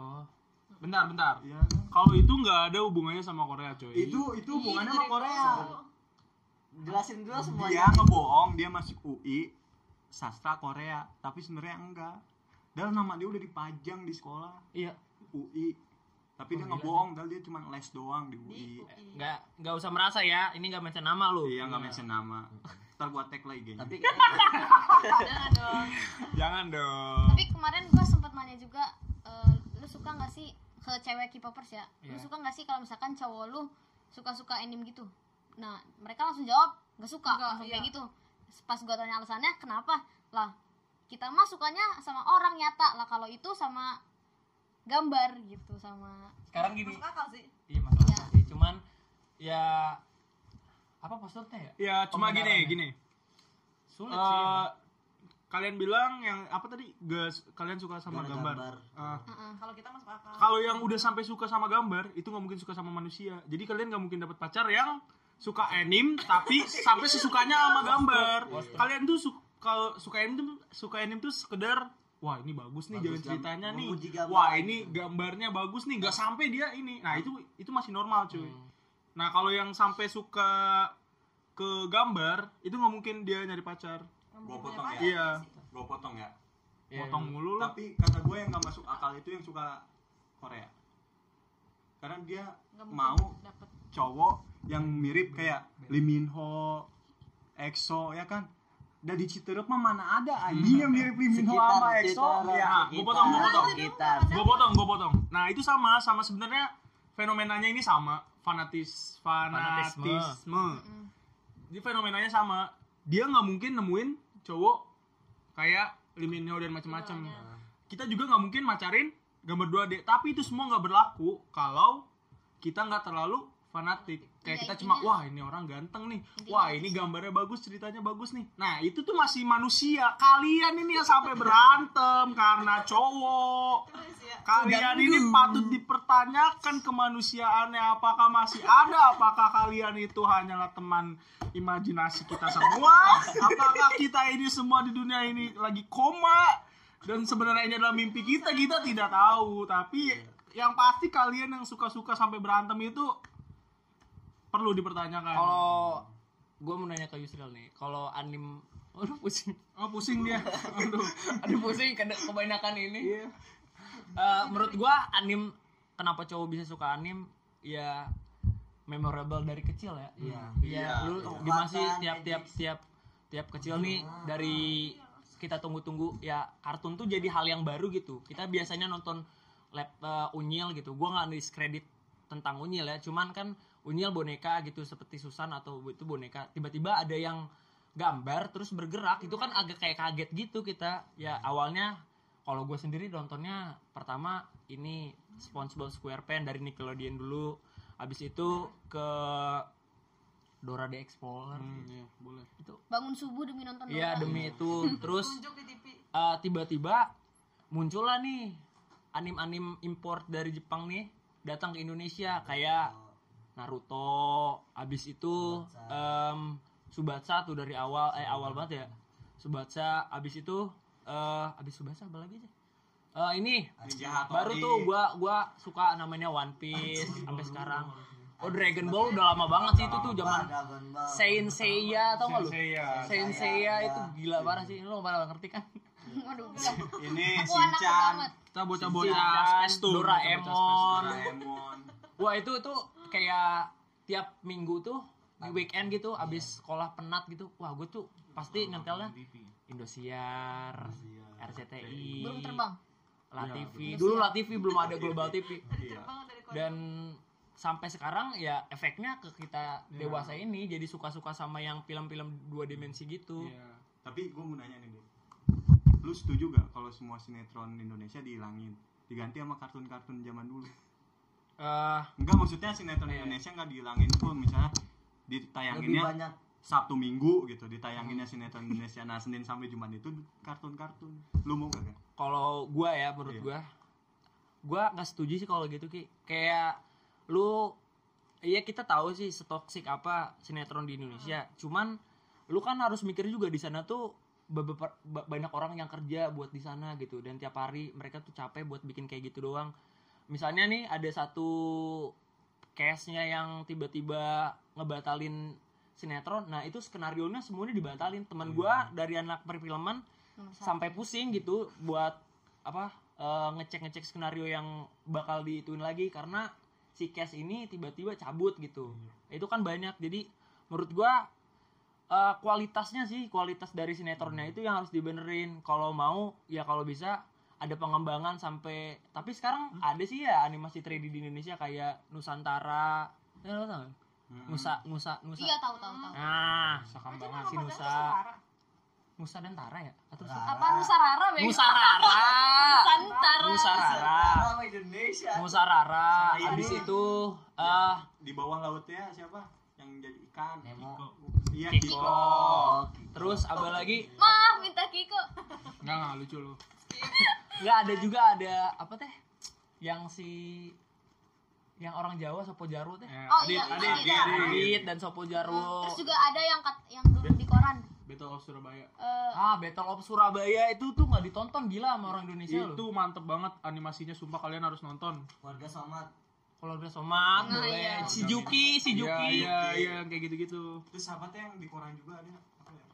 oh bentar bentar Iya kan? kalau itu nggak ada hubungannya sama Korea coy Itu itu hubungannya sama Korea. Jelasin dulu Dia semuanya. ngebohong, dia masuk UI sastra Korea, tapi sebenarnya enggak. Dan nama dia udah dipajang di sekolah iya UI. Wah, Tapi Oh, iya. dia gila ngebohong, dan dia cuma les doang di UI. Di UI. nggak nggak usah merasa ya ini nggak mention nama lu Iya, nggak <laughs> mention nama. Ntar gua tag lagi ig Tapi kayaknya Jangan dong. jangan dong Tapi kemarin gua sempat nanya juga eh, lu suka nggak sih ke cewek K-popers ya? Iya. Lu suka nggak sih kalau misalkan cowok lu suka-suka anime gitu? Nah, mereka langsung jawab nggak suka Nggak, langsung kayak iya. gitu. Pas gua tanya alasannya kenapa? Lah, kita mah sukanya sama orang nyata. Lah kalau itu sama gambar gitu sama sekarang gini Masuk akal sih. iya masalah Iya. sih cuman ya apa posturnya ya ya cuma gini Pembenaran ya. gini sulit sih Eh, emang. kalian bilang yang apa tadi Gas- kalian suka sama Gara gambar, gambar. Ah. Kalau kita masuk akal. kalau yang udah sampai suka sama gambar itu nggak mungkin suka sama manusia jadi kalian nggak mungkin dapat pacar yang suka anime tapi sampai sesukanya sama gambar kalian tuh su- kalau suka anime tuh suka anime tuh sekedar wah ini bagus nih jalan Bagus, gam- ceritanya nih memuji gambar. wah ini gambarnya bagus nih nggak sampai dia ini nah itu itu masih normal cuy Hmm. nah kalau yang sampai suka ke gambar itu nggak mungkin dia nyari pacar Gua potong ya. iya Gua potong ya. Iya. potong mulu lah Tapi kata gue yang nggak masuk akal itu yang suka Korea. Karena dia Nggak mau mungkin dapet. cowok yang mirip kayak Lee Min Ho, EXO ya kan. Dari Citerep mah mana ada anjing yang mirip Lee Min Ho sekitar sama EXO ya. gua potong, gua potong. Sekitar. gue potong gue potong nah itu sama sama sebenarnya fenomenanya ini sama fanatis Fanatisme. fanatisme, jadi fenomenanya sama dia nggak mungkin nemuin cowok kayak Liminho dan macam-macam Iya, kita juga nggak mungkin macarin gambar 2D tapi itu semua nggak berlaku kalau kita nggak terlalu fanatik kayak Iya, kita intinya- cuma wah ini orang ganteng nih wah ini gambarnya bagus ceritanya bagus nih nah itu tuh masih manusia kalian ini yang sampai berantem karena cowok <laughs> Terus ya. Kalian ini patut dipertanyakan kemanusiaannya apakah masih ada apakah kalian itu hanyalah teman imajinasi kita semua apakah kita ini semua di dunia ini lagi koma dan sebenarnya ini adalah mimpi kita kita tidak tahu tapi yang pasti kalian yang suka-suka sampai berantem itu perlu dipertanyakan kalau gue mau nanya ke Yusril nih kalau anim <laughs> aduh pusing oh pusing dia aduh aduh pusing ke- kebanyakan ini Eh, menurut gua anim kenapa cowok bisa suka anim ya memorable dari kecil ya Iya. ya lu Iya. dimasi Kekuatan, gitu. Iya. tiap tiap tiap tiap kecil nih dari kita tunggu-tunggu ya kartun tuh jadi hal yang baru gitu kita biasanya nonton lab eh, unyil gitu gua nggak diskredit tentang unyil ya cuman kan unyil boneka gitu seperti susan atau itu boneka tiba-tiba ada yang gambar terus bergerak itu kan agak kayak kaget gitu kita ya Hmm. awalnya kalau gue sendiri nontonnya pertama ini SpongeBob SquarePants dari Nickelodeon dulu abis itu ke Dora the Explorer Iya, boleh. bangun subuh demi nonton Iya Dora. demi itu terus Tunjuk di TV. eh, tiba-tiba muncullah nih anim-anim import dari Jepang nih datang ke Indonesia kayak Naruto abis itu em, Subatsa tuh dari awal eh awal banget ya Subatsa abis itu eh abis Subatsa apa lagi aja Eh, ini Ninja baru Hattori. tuh gua gua suka namanya One Piece sampai sekarang Oh Dragon Ball udah lama banget sih itu tuh zaman Dragon Ball. Saint Seiya tau gak lu? Sensei ya. Saint Seiya itu gila parah sih, lu malah ngerti kan? Waduh, iya, bilang. Ini aku anak Shinchan. banget. Kita Shinchan, bocah-bocah Spacetoon. Doraemon. Bocah-bocah Spacetoon, Doraemon. Wah itu tuh kayak tiap minggu tuh di weekend gitu, abis sekolah penat gitu, wah gue tuh pasti nyetelnya Indosiar, Iya. RCTI, Burung terbang. LaTV, dulu LaTV belum ada Global TV, Iya. Banget dari kota. dan sampai sekarang ya efeknya ke kita dewasa ini jadi suka-suka sama yang film-film dua dimensi gitu. Iya. Tapi gue mau nanya nih, Bu. Lu setuju gak kalau semua sinetron Indonesia dihilangin? Diganti sama kartun-kartun zaman dulu? Eh, Enggak, maksudnya sinetron Iya. Indonesia nggak dihilangin tuh misalnya Lebih ditayanginnya banyak Sabtu Minggu gitu, ditayanginnya sinetron Indonesia. Nah, Senin sampai Jumat itu kartun-kartun. Lu mau gak? Kak? kalau gua ya menurut Iya. gua gua nggak setuju sih kalau gitu ki kayak lu iya kita tahu sih setoksik apa sinetron di Indonesia cuman lu kan harus mikir juga di sana tuh beberapa- ba- banyak orang yang kerja buat di sana gitu dan tiap hari mereka tuh capek buat bikin kayak gitu doang misalnya nih ada satu case-nya yang tiba-tiba ngebatalin sinetron nah itu skenario nya semuanya dibatalin teman gua dari anak perfilman sampai pusing gitu buat apa eh, ngecek-ngecek skenario yang bakal diituin lagi karena si cash ini tiba-tiba cabut gitu. Itu kan banyak. Jadi menurut gua eh, kualitasnya sih kualitas dari sinetronnya itu yang harus dibenerin. Kalau mau ya kalau bisa ada pengembangan sampai tapi sekarang ada sih ya animasi 3D di Indonesia kayak Nusantara. Eh, lo tau nggak? Nusa Nusa Nusa. Iya, tahu tahu tahu. Nah, Nusa Itu Kambangan nama si pacarnya Nusa. Sara. Nusa dan Tara ya? Atau Nusa- Apa Nusarara, Bego? Nusarara. Nusantara. Nusarara. orang Indonesia. Nusarara. Selain Habis ini. itu eh Di bawah lautnya siapa? Yang jadi ikan. Nemo. Iya, Kiko. Kiko. Terus apa lagi? Maaf, minta Kiko. Enggak, enggak lucu lu. Enggak ada juga ada apa teh? Yang si yang orang Jawa Sopo Jarwo teh. Ya, Oh, iya, Adit, Adit, iya. Adit, Adit. Adit dan Sopo Jarwo. Terus juga ada yang kat, yang dulu di koran. Battle of Surabaya. Eh, Ah, Battle of Surabaya itu tuh nggak ditonton gila sama orang Indonesia Itu Iya loh. mantep banget animasinya, sumpah kalian harus nonton. Keluarga Somad. Kalau udah somat Nah, boleh. iya. Si Juki, si Iya, Juki. iya, iya, yang kayak gitu-gitu. Terus sahabatnya yang di koran juga ada apa ya?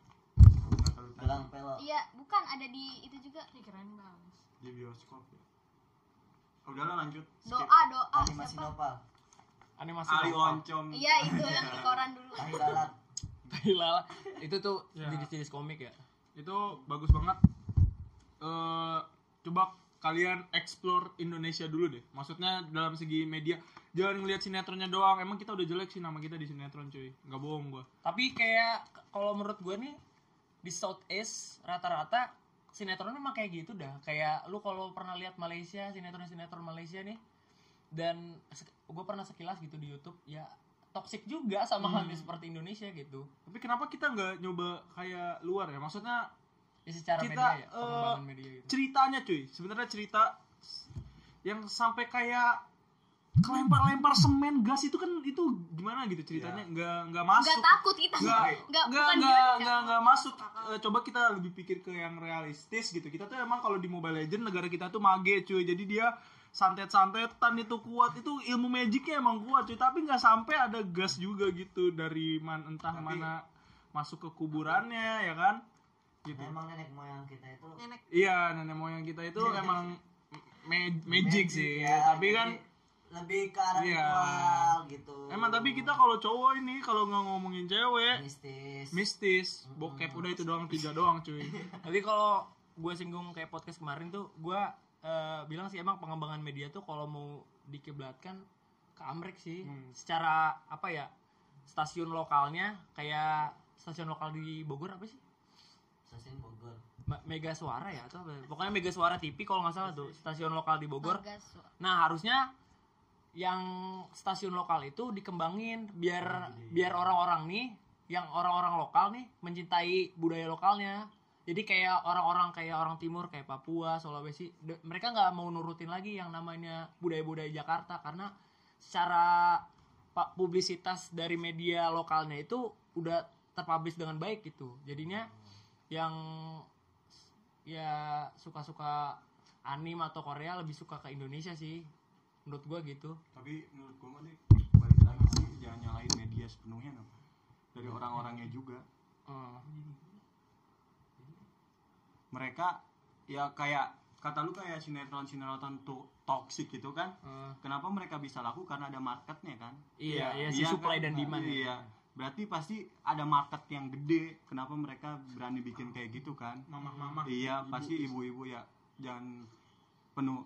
Belang pelo. iya, bukan ada di itu juga. Ih, keren banget. Di bioskop ya. Oh, Udahlah lanjut. Skip. Doa, doa Animasi oh, siapa? novel. Animasi Ali lokal. Oncom. Iya, itu yang di koran dulu. Tahi lalat. <laughs> Gila. Itu tuh Iya. jenis-jenis komik ya. itu bagus banget eh coba kalian explore Indonesia dulu deh maksudnya dalam segi media jangan ngelihat sinetronnya doang emang kita udah jelek sih nama kita di sinetron cuy nggak bohong gua Tapi kayak k- kalau menurut gue nih di Southeast rata-rata sinetron emang kayak gitu dah. Kayak lu kalau pernah lihat Malaysia sinetron-sinetron Malaysia nih dan gue pernah sekilas gitu di YouTube ya toxic juga sama Hmm. halnya seperti Indonesia gitu. tapi kenapa kita nggak nyoba kayak luar ya maksudnya Ya, secara Kita, media ya, eh, pengembangan media gitu. ceritanya cuy sebenarnya cerita s- yang sampai kayak kelempar-lempar semen gas itu kan itu gimana gitu ceritanya Iya. nggak nggak masuk Nggak takut kita. nggak Nggak, nggak bukan nggak gimana. nggak nggak masuk Eh, coba kita lebih pikir ke yang realistis gitu kita tuh emang kalau di Mobile Legend negara kita tuh mage cuy jadi dia santet-santetan itu kuat itu ilmu magicnya emang kuat cuy tapi nggak sampai ada gas juga gitu dari man entah mana masuk ke kuburannya ya kan gitu Emang nenek moyang kita itu Nenek. iya nenek moyang kita itu emang me- Iya, magic, sih ya, tapi kan lebih ke arah Iya. ritual gitu Emang tapi kita kalau cowok ini kalau nggak ngomongin cewek mistis mistis, bokep udah itu doang tiga doang <laughs> cuy. Tapi kalau gue singgung kayak podcast kemarin tuh, gue eh, bilang sih emang pengembangan media tuh kalau mau dikiblatkan ke Amrek sih. Secara apa ya? Stasiun lokalnya kayak stasiun lokal di Bogor apa sih? stasiun Bogor Ma- Mega Suara ya atau apa? Pokoknya Mega Suara TV kalau nggak salah tuh, stasiun lokal di Bogor. Bagas. Nah, harusnya yang stasiun lokal itu dikembangin biar biar orang-orang nih yang orang-orang lokal nih mencintai budaya lokalnya. Jadi kayak orang-orang kayak orang timur kayak Papua, Sulawesi, de- mereka nggak mau nurutin lagi yang namanya budaya-budaya Jakarta karena secara pa- publisitas dari media lokalnya itu udah terpublish dengan baik gitu. Jadinya yang ya suka-suka anime atau Korea lebih suka ke Indonesia sih menurut gua gitu tapi menurut gue mah nih balik lagi sih jangan nyalain media sepenuhnya dong dari orang-orangnya juga mereka ya kayak kata lu kayak sinetron sinetron tuh toxic gitu kan kenapa mereka bisa laku karena ada marketnya kan Eh, Iya, iya, si supply dan demand ya. iya berarti pasti ada market yang gede kenapa mereka berani bikin kayak gitu kan Mamah-mamah. iya pasti ibu-ibu ya jangan penuh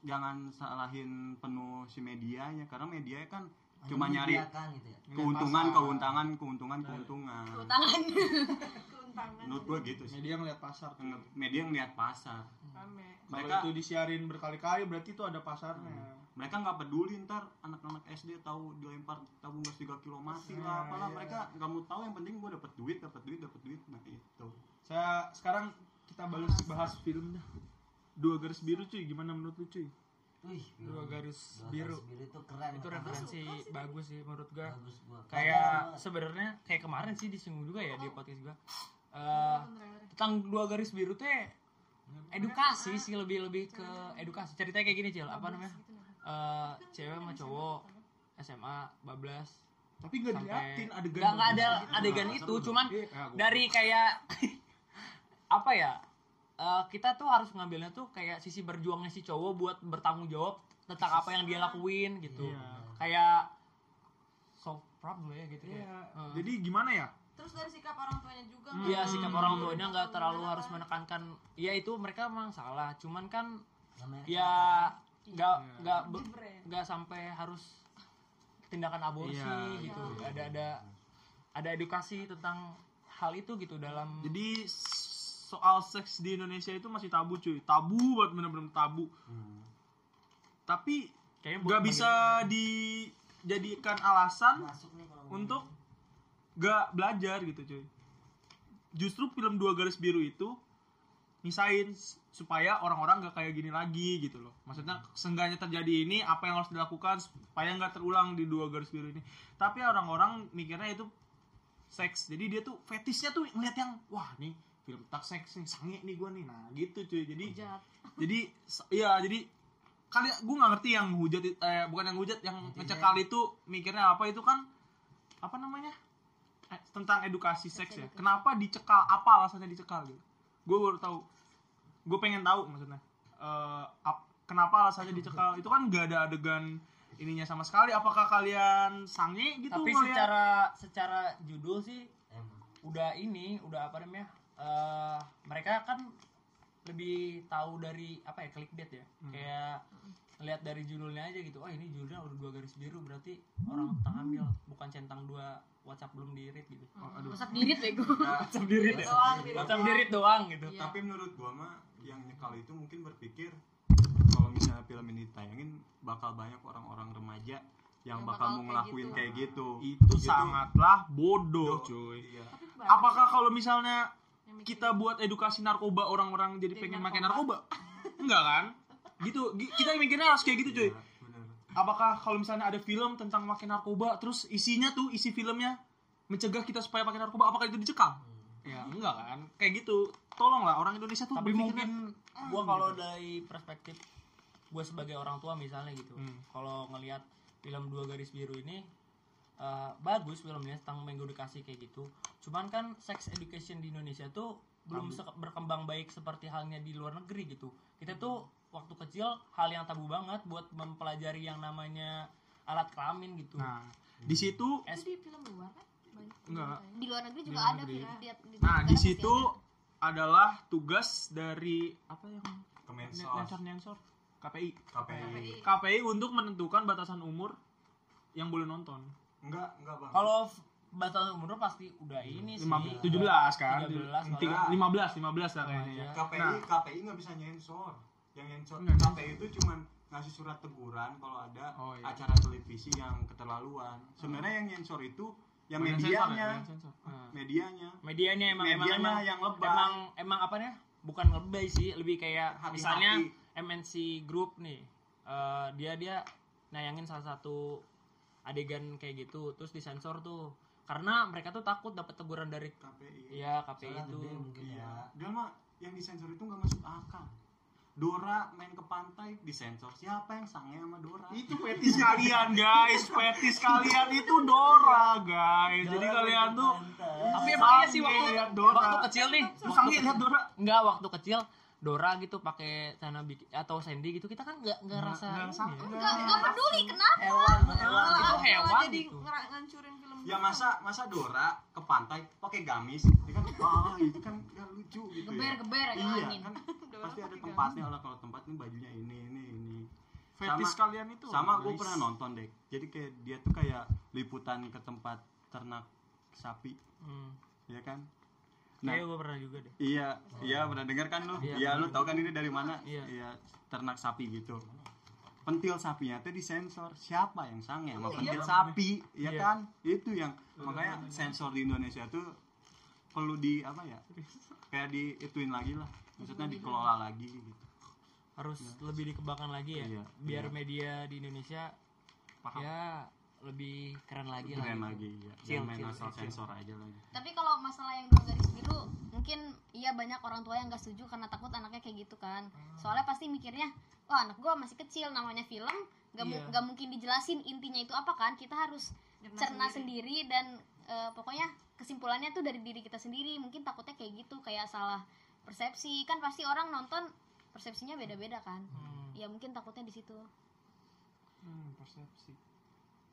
jangan salahin penuh si medianya karena media kan cuma nyari kan gitu ya keuntungan keuntungan keuntungan keuntungan Tangan. keuntangan menurut gua gitu sih Media ngeliat pasar. tuh. media ngeliat pasar rame mereka Hmm. Kalau itu disiarin berkali-kali berarti itu ada pasarnya. mereka nggak peduli ntar anak-anak SD tahu dilempar tabung gas 3 kilo mati lah apalah mereka nggak mau tahu yang penting gua dapet duit dapet duit dapet duit nah itu Saya sekarang kita balas bahas film dah. Dua garis biru cuy, gimana menurut lu cuy? Wih, dua garis biru biru itu keren itu referensi bagus Kan sih menurut gua bagus gua kayak sebenarnya kayak kemarin sih disinggung juga ya di podcast gua Eh, tentang dua garis biru tuh ya edukasi sih lebih lebih ke edukasi ceritanya kayak gini cil apa namanya Eh, cewek sama cowok SMA bablas Tapi nggak sampai diliatin adegan. nggak nggak ada adegan itu cuman Iya, ah, gua- dari kayak <laughs> apa ya eh, kita tuh harus ngambilnya tuh kayak sisi berjuangnya si cowok buat bertanggung jawab tentang apa yang dia lakuin gitu Iya. kayak soft problem ya gitu Iya. kayak Hmm. eh. Jadi gimana ya? terus dari sikap orang tuanya juga Iya nggak- sikap orang tuanya nggak terlalu harus menekankan. Iya itu mereka memang salah. Cuman kan namanya ya nggak Iya. nggak be- nggak sampai harus tindakan aborsi Iya, gitu. Ada ada ada edukasi tentang hal itu gitu dalam Jadi soal seks di Indonesia itu masih tabu cuy, tabu buat bener-bener tabu. Hmm. Tapi kayaknya nggak bukan bisa dijadikan alasan masuk nih kalau untuk nggak belajar gitu cuy. Justru film dua garis biru itu misain s- supaya orang-orang nggak kayak gini lagi gitu loh. Maksudnya seenggaknya terjadi ini apa yang harus dilakukan supaya nggak terulang di dua garis biru ini. Tapi orang-orang mikirnya itu seks. Jadi dia tuh fetishnya tuh ngeliat yang wah nih film tak seks nih sange nih gua nih. Nah gitu cuy. Jadi jadi s- iya jadi kali gue nggak ngerti yang hujat it- eh, bukan yang hujat yang ngecekal itu mikirnya apa itu kan apa namanya Eh, tentang edukasi seks ya kenapa dicekal apa alasannya dicekal gitu gue baru tahu gue pengen tahu maksudnya Eh, ap- kenapa alasannya dicekal itu kan gak ada adegan ininya sama sekali apakah kalian sange gitu Tapi ngeliat? secara secara judul sih Emang. udah ini udah apa namanya eh, mereka kan lebih tahu dari apa ya clickbait ya kayak lihat dari judulnya aja gitu oh ini judulnya udah dua garis biru berarti orang tentang hamil bukan centang dua WhatsApp belum di read gitu Pusat dirit bego. Nah, WhatsApp di read WhatsApp di read doang gitu Iya. tapi menurut gua mah yang nyekal itu mungkin berpikir kalau misalnya film ini ditayangin bakal banyak orang-orang remaja yang bakal, mau ngelakuin kayak gitu, itu sangatlah bodoh cuy Iya. apakah kalau misalnya kita buat edukasi narkoba orang-orang jadi pengen makan narkoba enggak kan gitu Gi- kita mikirnya harus kayak gitu cuy Iya. bener. apakah kalau misalnya ada film tentang makan narkoba terus isinya tuh isi filmnya mencegah kita supaya pakai narkoba apakah itu dicekal ya enggak kan kayak gitu tolonglah orang Indonesia tuh gitu. tapi berpikirnya- mungkin ah, gitu. gua kalau dari perspektif gue sebagai orang tua misalnya gitu Hmm. kalau ngelihat film dua garis biru ini eh, bagus filmnya tentang mengedukasi kayak gitu cuman kan sex education di Indonesia tuh belum se- berkembang baik seperti halnya di luar negeri gitu. Kita tuh waktu kecil hal yang tabu banget buat mempelajari yang namanya alat kelamin gitu. Nah, di situ Itu di film luar kan? Banyak enggak. di luar negeri juga luar ada negeri. film tiap di Nah, negara di pasti situ ada. adalah tugas dari apa yang Kemensos, sensor-sensor KPI. KPI. KPI untuk menentukan batasan umur yang boleh nonton. Enggak, enggak bang. Kalau f- batas umur pasti udah ini Iya sih. Lima- 17 kan? 13 malah. Tiga- 15, 15 lah kayaknya. Sama aja. KPI Nah. KPI nggak bisa nyensor yang nyensor Nggak nyensor. KPI itu cuman ngasih surat teguran kalau ada Oh, iya. acara televisi yang keterlaluan sebenarnya yang nyensor itu yang Bukan sensor ya, medianya bukan sensor. Nah. medianya medianya emang emang Medianya emang yang lebay. emang emang apa nih bukan lebay sih lebih kayak Hati-hati. misalnya MNC Group nih eh, dia dia nayangin salah satu adegan kayak gitu terus disensor tuh karena mereka tuh takut dapat teguran dari KPI ya Iya, KPI Soalnya itu gede mungkin ya. iya dan mah yang disensor itu nggak masuk akal Dora main ke pantai disensor siapa yang sange sama Dora Itu petis kalian guys, petis kalian itu Dora guys. Jadi kalian tuh tapi emang iya sih sange waktu lihat Dora. waktu kecil nih Lu sange lihat Dora. nggak waktu kecil Dora gitu pakai celana bik- atau Sandy gitu kita kan nggak nggak rasa Nggak ini sange. ya. nggak nggak peduli Iya. kenapa Hewan, hewan. Malah- itu malah hewan jadi gitu. ngera- ngancurin film ya doang. masa masa Dora ke pantai pakai gamis dia kan wah itu kan nggak lucu gitu geber ya geber ya iya angin. kan Dora pasti ada pakai tempatnya lah kalau tempatnya bajunya ini ini ini Fetis Sama- kalian itu. sama gue guys. pernah nonton deh jadi kayak dia tuh kayak liputan ke tempat ternak sapi hmm. ya kan Nah. Iya, gue pernah juga deh iya iya pernah dengar kan lu Iya. iya lu tau kan ini dari mana Iya. ternak sapi gitu pentil sapinya tuh disensor siapa yang sange sama pentil sapi ya Iya. kan itu yang makanya sensor di Indonesia tuh perlu di apa ya kayak di ituin lagi lah maksudnya dikelola lagi gitu harus lebih dikembangkan lagi ya Iya, biar iya. media di Indonesia Paham. ya lebih keren lagi lah keren gitu. lagi ya Chill, jangan main chill, asal chill. sensor aja lagi tapi kalau masalah yang dua garis biru mungkin iya banyak orang tua yang nggak setuju karena takut anaknya kayak gitu kan Hmm. soalnya pasti mikirnya wah anak gua masih kecil namanya film nggak mu- Iya. nggak mungkin dijelasin intinya itu apa kan kita harus Cerna cerna sendiri, dan eh, pokoknya kesimpulannya tuh dari diri kita sendiri mungkin takutnya kayak gitu kayak salah persepsi kan pasti orang nonton persepsinya beda-beda kan Hmm, ya mungkin takutnya di situ Hmm, persepsi.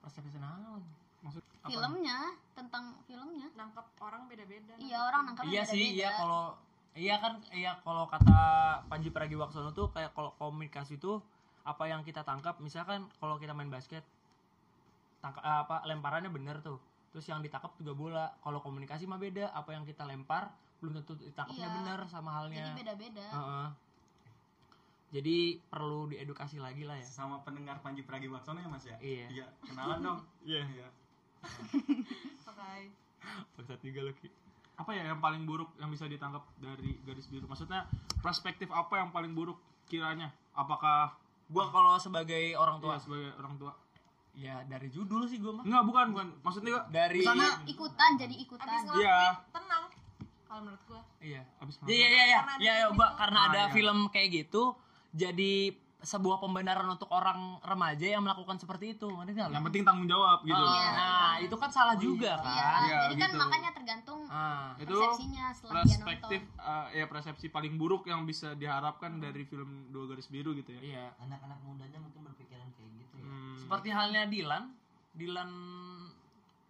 persepsi naon? Maksud apa? filmnya tentang filmnya nangkep orang beda-beda iya orang nangkap iya sih iya kalau iya kan iya kalau kata Panji Pragiwaksono tuh kayak kalau komunikasi itu apa yang kita tangkap misalkan kalau kita main basket tangkap eh, apa lemparannya bener tuh terus yang ditangkap juga bola kalau komunikasi mah beda apa yang kita lempar belum tentu ditangkapnya Iya. bener sama halnya jadi beda-beda Heeh. Jadi perlu diedukasi lagi lah ya. sama pendengar Panji Pragiwaksono ya Mas ya? Iya. kenalan dong. Iya. Pakai Bangsat juga lu, Ki. Apa ya yang paling buruk yang bisa ditangkap dari garis biru? Maksudnya perspektif apa yang paling buruk kiranya? Apakah Gua kalau sebagai orang tua tua sebagai orang tua? ya dari judul sih gua mah. Enggak, bukan, bukan. Maksudnya Dari Misalnya- ikutan jadi abis ikutan ngelakuin Iya. tenang kalau menurut gua iya. habis Iya iya iya. Karena ada Iya ya, film Mbak, itu. karena Ah, ada iya. film kayak gitu jadi sebuah pembenaran untuk orang remaja yang melakukan seperti itu. Ngerti nggak lu? yang penting tanggung jawab gitu. Ah, Nah, itu kan salah juga iya kan. Iya, jadi kan gitu. makanya tergantung Ah, Nah, Itu persepsinya setelah dia nonton perspektif eh, ya persepsi paling buruk yang bisa diharapkan dari film Dua Garis Biru gitu ya. iya. Anak-anak mudanya mungkin berpikiran kayak gitu ya. Hmm. Seperti halnya Dilan, Dilan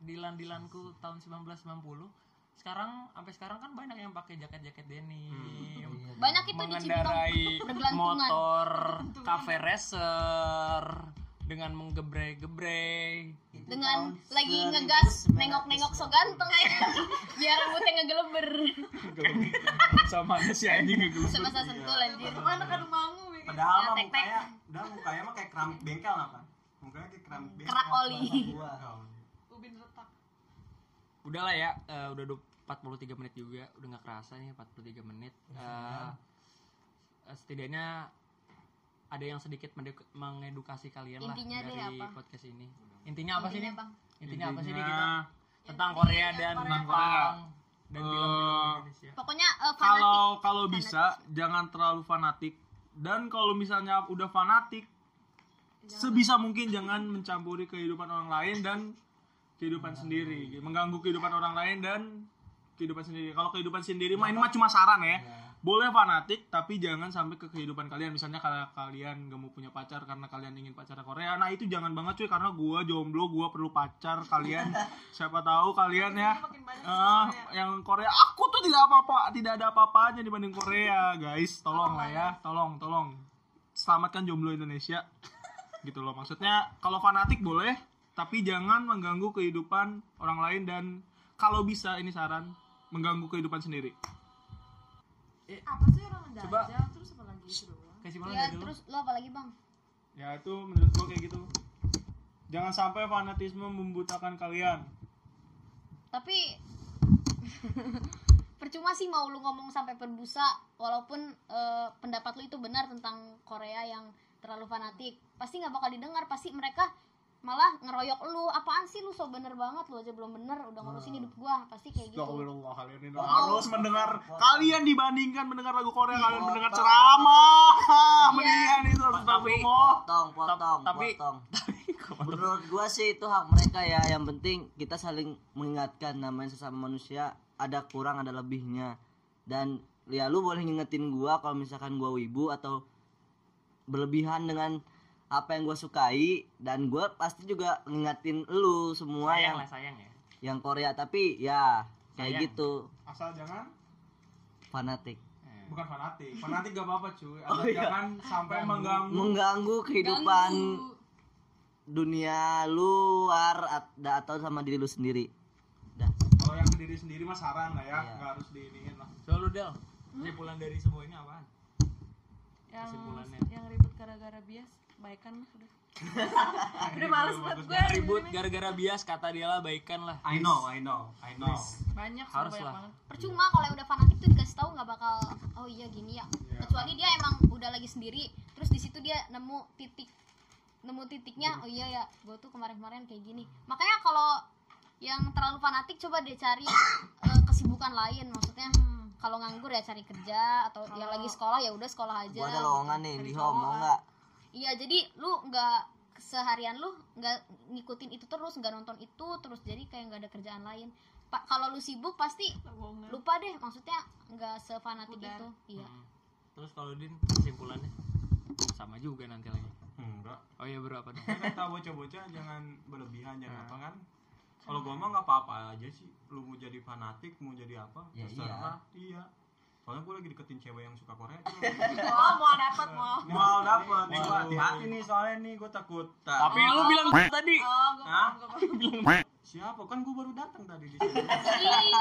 Dilan Dilanku tahun 1990. Sekarang sampai sekarang kan banyak yang pakai jaket-jaket denim. Iya, banyak itu di Cibinong mengendarai Bergelantungan. motor cafe racer dengan menggebre-gebre itu dengan tahun lagi 1900. ngegas nengok-nengok so ganteng <laughs> biar rambutnya ngegeleber Sama aja sih anjing gitu. sebasa sentul anjir mana kan mangu bikin Padahal Ya, mah tek-tek. mukanya, udah mukanya mah kayak keramik bengkel apa? Mukanya kayak keramik bengkel. kerak oli Gua. <laughs> ubin retak udahlah ya eh, udah du- 43 menit juga udah nggak kerasa nih 43 menit Eh, eh, setidaknya ada yang sedikit mendek- mengedukasi kalian Intinya lah deh dari apa? podcast ini intinya apa sih Intinya nih Iya, bang intinya apa sih gitu? nih kita Intinya, tentang Korea dan Tentang Korea. Jepang dan film-film Eh, Indonesia pokoknya eh, fanatik kalau kalau bisa jangan terlalu fanatik dan kalau misalnya udah fanatik sebisa mungkin jangan mencampuri kehidupan orang lain dan kehidupan sendiri mengganggu kehidupan orang lain dan kehidupan sendiri. Kalau kehidupan sendiri mah ini mah cuma saran ya. Boleh fanatik tapi jangan sampai ke kehidupan kalian. Misalnya kalau kalian gak mau punya pacar karena kalian ingin pacar Korea. Nah, itu jangan banget cuy karena gua jomblo, gua perlu pacar <laughs> kalian. Siapa tahu kalian ya. Makin eh, banyak sih Korea. yang Korea aku tuh tidak apa-apa, tidak ada apa-apanya dibanding Korea, guys. Tolong lah ya, tolong, tolong. Selamatkan jomblo Indonesia. Gitu loh maksudnya, kalau fanatik boleh, tapi jangan mengganggu kehidupan orang lain dan kalau bisa ini saran, mengganggu kehidupan sendiri. apa sih orang menjajal terus apa lagi itu doang kesimpulan Ya, dari <laughs> lu? terus lo apa lagi, Bang? Ya itu menurut gua kayak gitu. Jangan sampai fanatisme membutakan kalian. Tapi <laughs> percuma sih mau lu ngomong sampai berbusa walaupun eh, pendapat lu itu benar tentang Korea yang terlalu fanatik. Pasti nggak bakal didengar, pasti mereka malah ngeroyok lu. Apaan sih lu so bener banget lu aja belum bener udah ngurusin hidup gua. Pasti kayak gitu. Astagfirullah, kalian ini harus mendengar kalian dibandingkan mendengar lagu Korea kalian mendengar ceramah. Iya. <laughs> Mendingan itu harus astagfirullah. potong potong tapi- potong menurut gua sih itu hak mereka ya yang penting kita saling mengingatkan namanya sesama manusia ada kurang ada lebihnya dan ya lu boleh ngingetin gua kalau misalkan gua wibu atau berlebihan dengan apa yang gua sukai dan gua pasti juga ngingatin lu semua sayang yang lah sayang ya yang Korea tapi ya Sayang. kayak gitu Asal jangan fanatik bukan fanatik. Fanatik gak apa-apa cuy. Oh, Asal iya. jangan sampai mengganggu mengganggu kehidupan Ganggu. dunia luar at- da- atau sama diri lu sendiri. Dah. kalau yang ke diri sendiri mah saran lah ya, Iya. nggak harus diiniin lah. so lu del Hmm? kesimpulan dari semua ini apaan yang Kesimpulannya. yang ribut gara-gara bias baikan lah udah udah males banget gue ribut gara-gara bias kata dia lah baikan lah I know, I know, I know. banyak sih Harus banyak lah. banget percuma kalau yang udah fanatik tuh dikasih tahu nggak bakal oh iya gini ya kecuali dia emang udah lagi sendiri terus di situ dia nemu titik nemu titiknya oh iya ya gue tuh kemarin-kemarin kayak gini makanya kalau yang terlalu fanatik coba dia cari eh, kesibukan lain maksudnya kalau nganggur ya cari kerja atau yang lagi sekolah ya udah sekolah aja Oh. Gua ada lowongan nih di home mau nggak? Iya jadi lu nggak seharian lu nggak ngikutin itu terus nggak nonton itu terus jadi kayak nggak ada kerjaan lain. Pa- kalau lu sibuk pasti Lowongan. lupa deh maksudnya nggak sefanatik itu. <laughs> Iya. Hmm. terus kalau din kesimpulannya sama juga nanti lagi Enggak. oh iya berapa dong Hmm, Kan kata bocah-bocah jangan berlebihan jangan apa kan. Kalau gua mah nggak apa-apa aja sih. Lu mau jadi fanatik, mau jadi apa? Ya, terserah. Iya. Soalnya gua lagi deketin cewek yang suka Korea. <laughs> oh mau dapat mau Mau dapet. Nih gua hati-hati nih soalnya nih gua takut. Nah, tapi lu bilang tadi oh gue Hah? paham gue paham Siapa? Kan gua baru datang tadi di sini. Ih,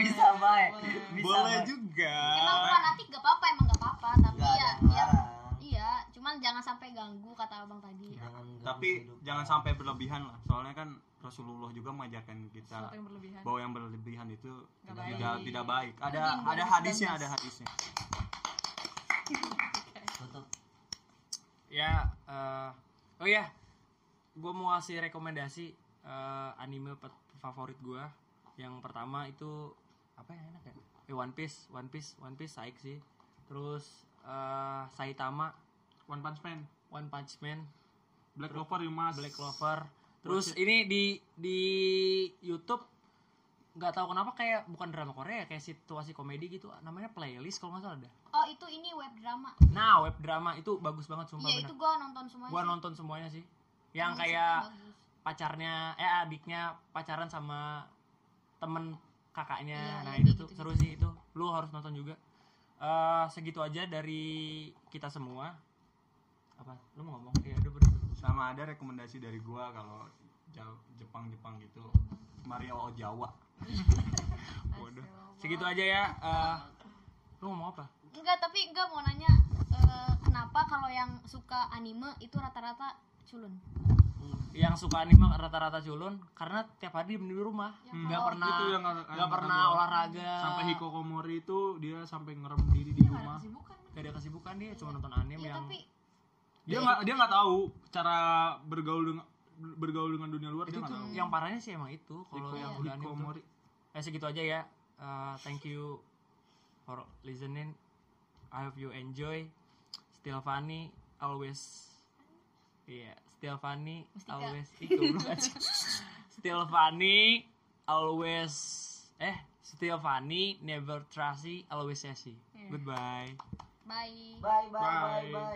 Bisa baik. Bisa baik. juga. emang fanatik gak apa-apa emang gak apa-apa tapi Nggak ya ada ya larang. iya cuman jangan sampai ganggu kata abang tadi. Iya. Jangan ganggu <laughs> Tapi hidup. jangan sampai berlebihan lah. Soalnya kan Rasulullah juga mengajarkan kita sesuatu yang berlebihan bahwa yang berlebihan itu Nggak tidak baik. tidak, tidak baik. Ada Mungkin ada bagus, hadisnya, bagus. ada hadisnya. Tutup. ya eh, oh ya gue mau kasih rekomendasi eh, anime pe- favorit gue yang pertama itu apa yang enak ya eh, One Piece One Piece One Piece saik sih terus eh, Saitama One Punch Man, One Punch Man Black Clover, you must. Black Clover. Terus ini di di YouTube nggak tahu kenapa kayak bukan drama Korea ya, kayak situasi komedi gitu namanya playlist kalau nggak salah ada. Oh itu ini web drama. Nah web drama itu bagus banget sumpah Iya bener. itu gua nonton semuanya. Gua sih. nonton semuanya sih. Yang Emang kayak sih bagus. pacarnya eh adiknya pacaran sama temen kakaknya. Iya, nah iya, itu kayak tuh gitu-gitu. seru sih itu. Lu harus nonton juga. Eh segitu aja dari kita semua. Apa? Lu mau ngomong? Iya, udah berarti. Sama ada rekomendasi dari gua kalau Jau- Jepang-Jepang gitu. Mario <laughs> Jawa. Segitu aja ya. Eh lu ngomong apa? Enggak, tapi enggak mau nanya eh, kenapa kalau yang suka anime itu rata-rata culun. yang suka anime rata-rata culun karena tiap hari diem di rumah Ya, Hmm, nggak pernah Hmm. Itu Oh, gitu yang nggak- nggak yang pernah kata gua. olahraga Sampai Hikokomori itu dia sampai ngerem diri di rumah. kesibukan gak ada kesibukan dia cuma nonton anime Iya, yang tapi Dia nggak dia nggak tahu cara bergaul dengan bergaul dengan dunia luar itu dia nggak tuh tahu. yang parahnya sih emang itu kalau Hiko- yang udah anime Hikomori. tuh. eh segitu aja ya Eh, thank you for listening I hope you enjoy still funny always Iya, still funny <laughs> always itu belum aja. still funny always eh Stefani, never trashy, always sassy. Goodbye. Bye. Bye bye bye Bye. bye.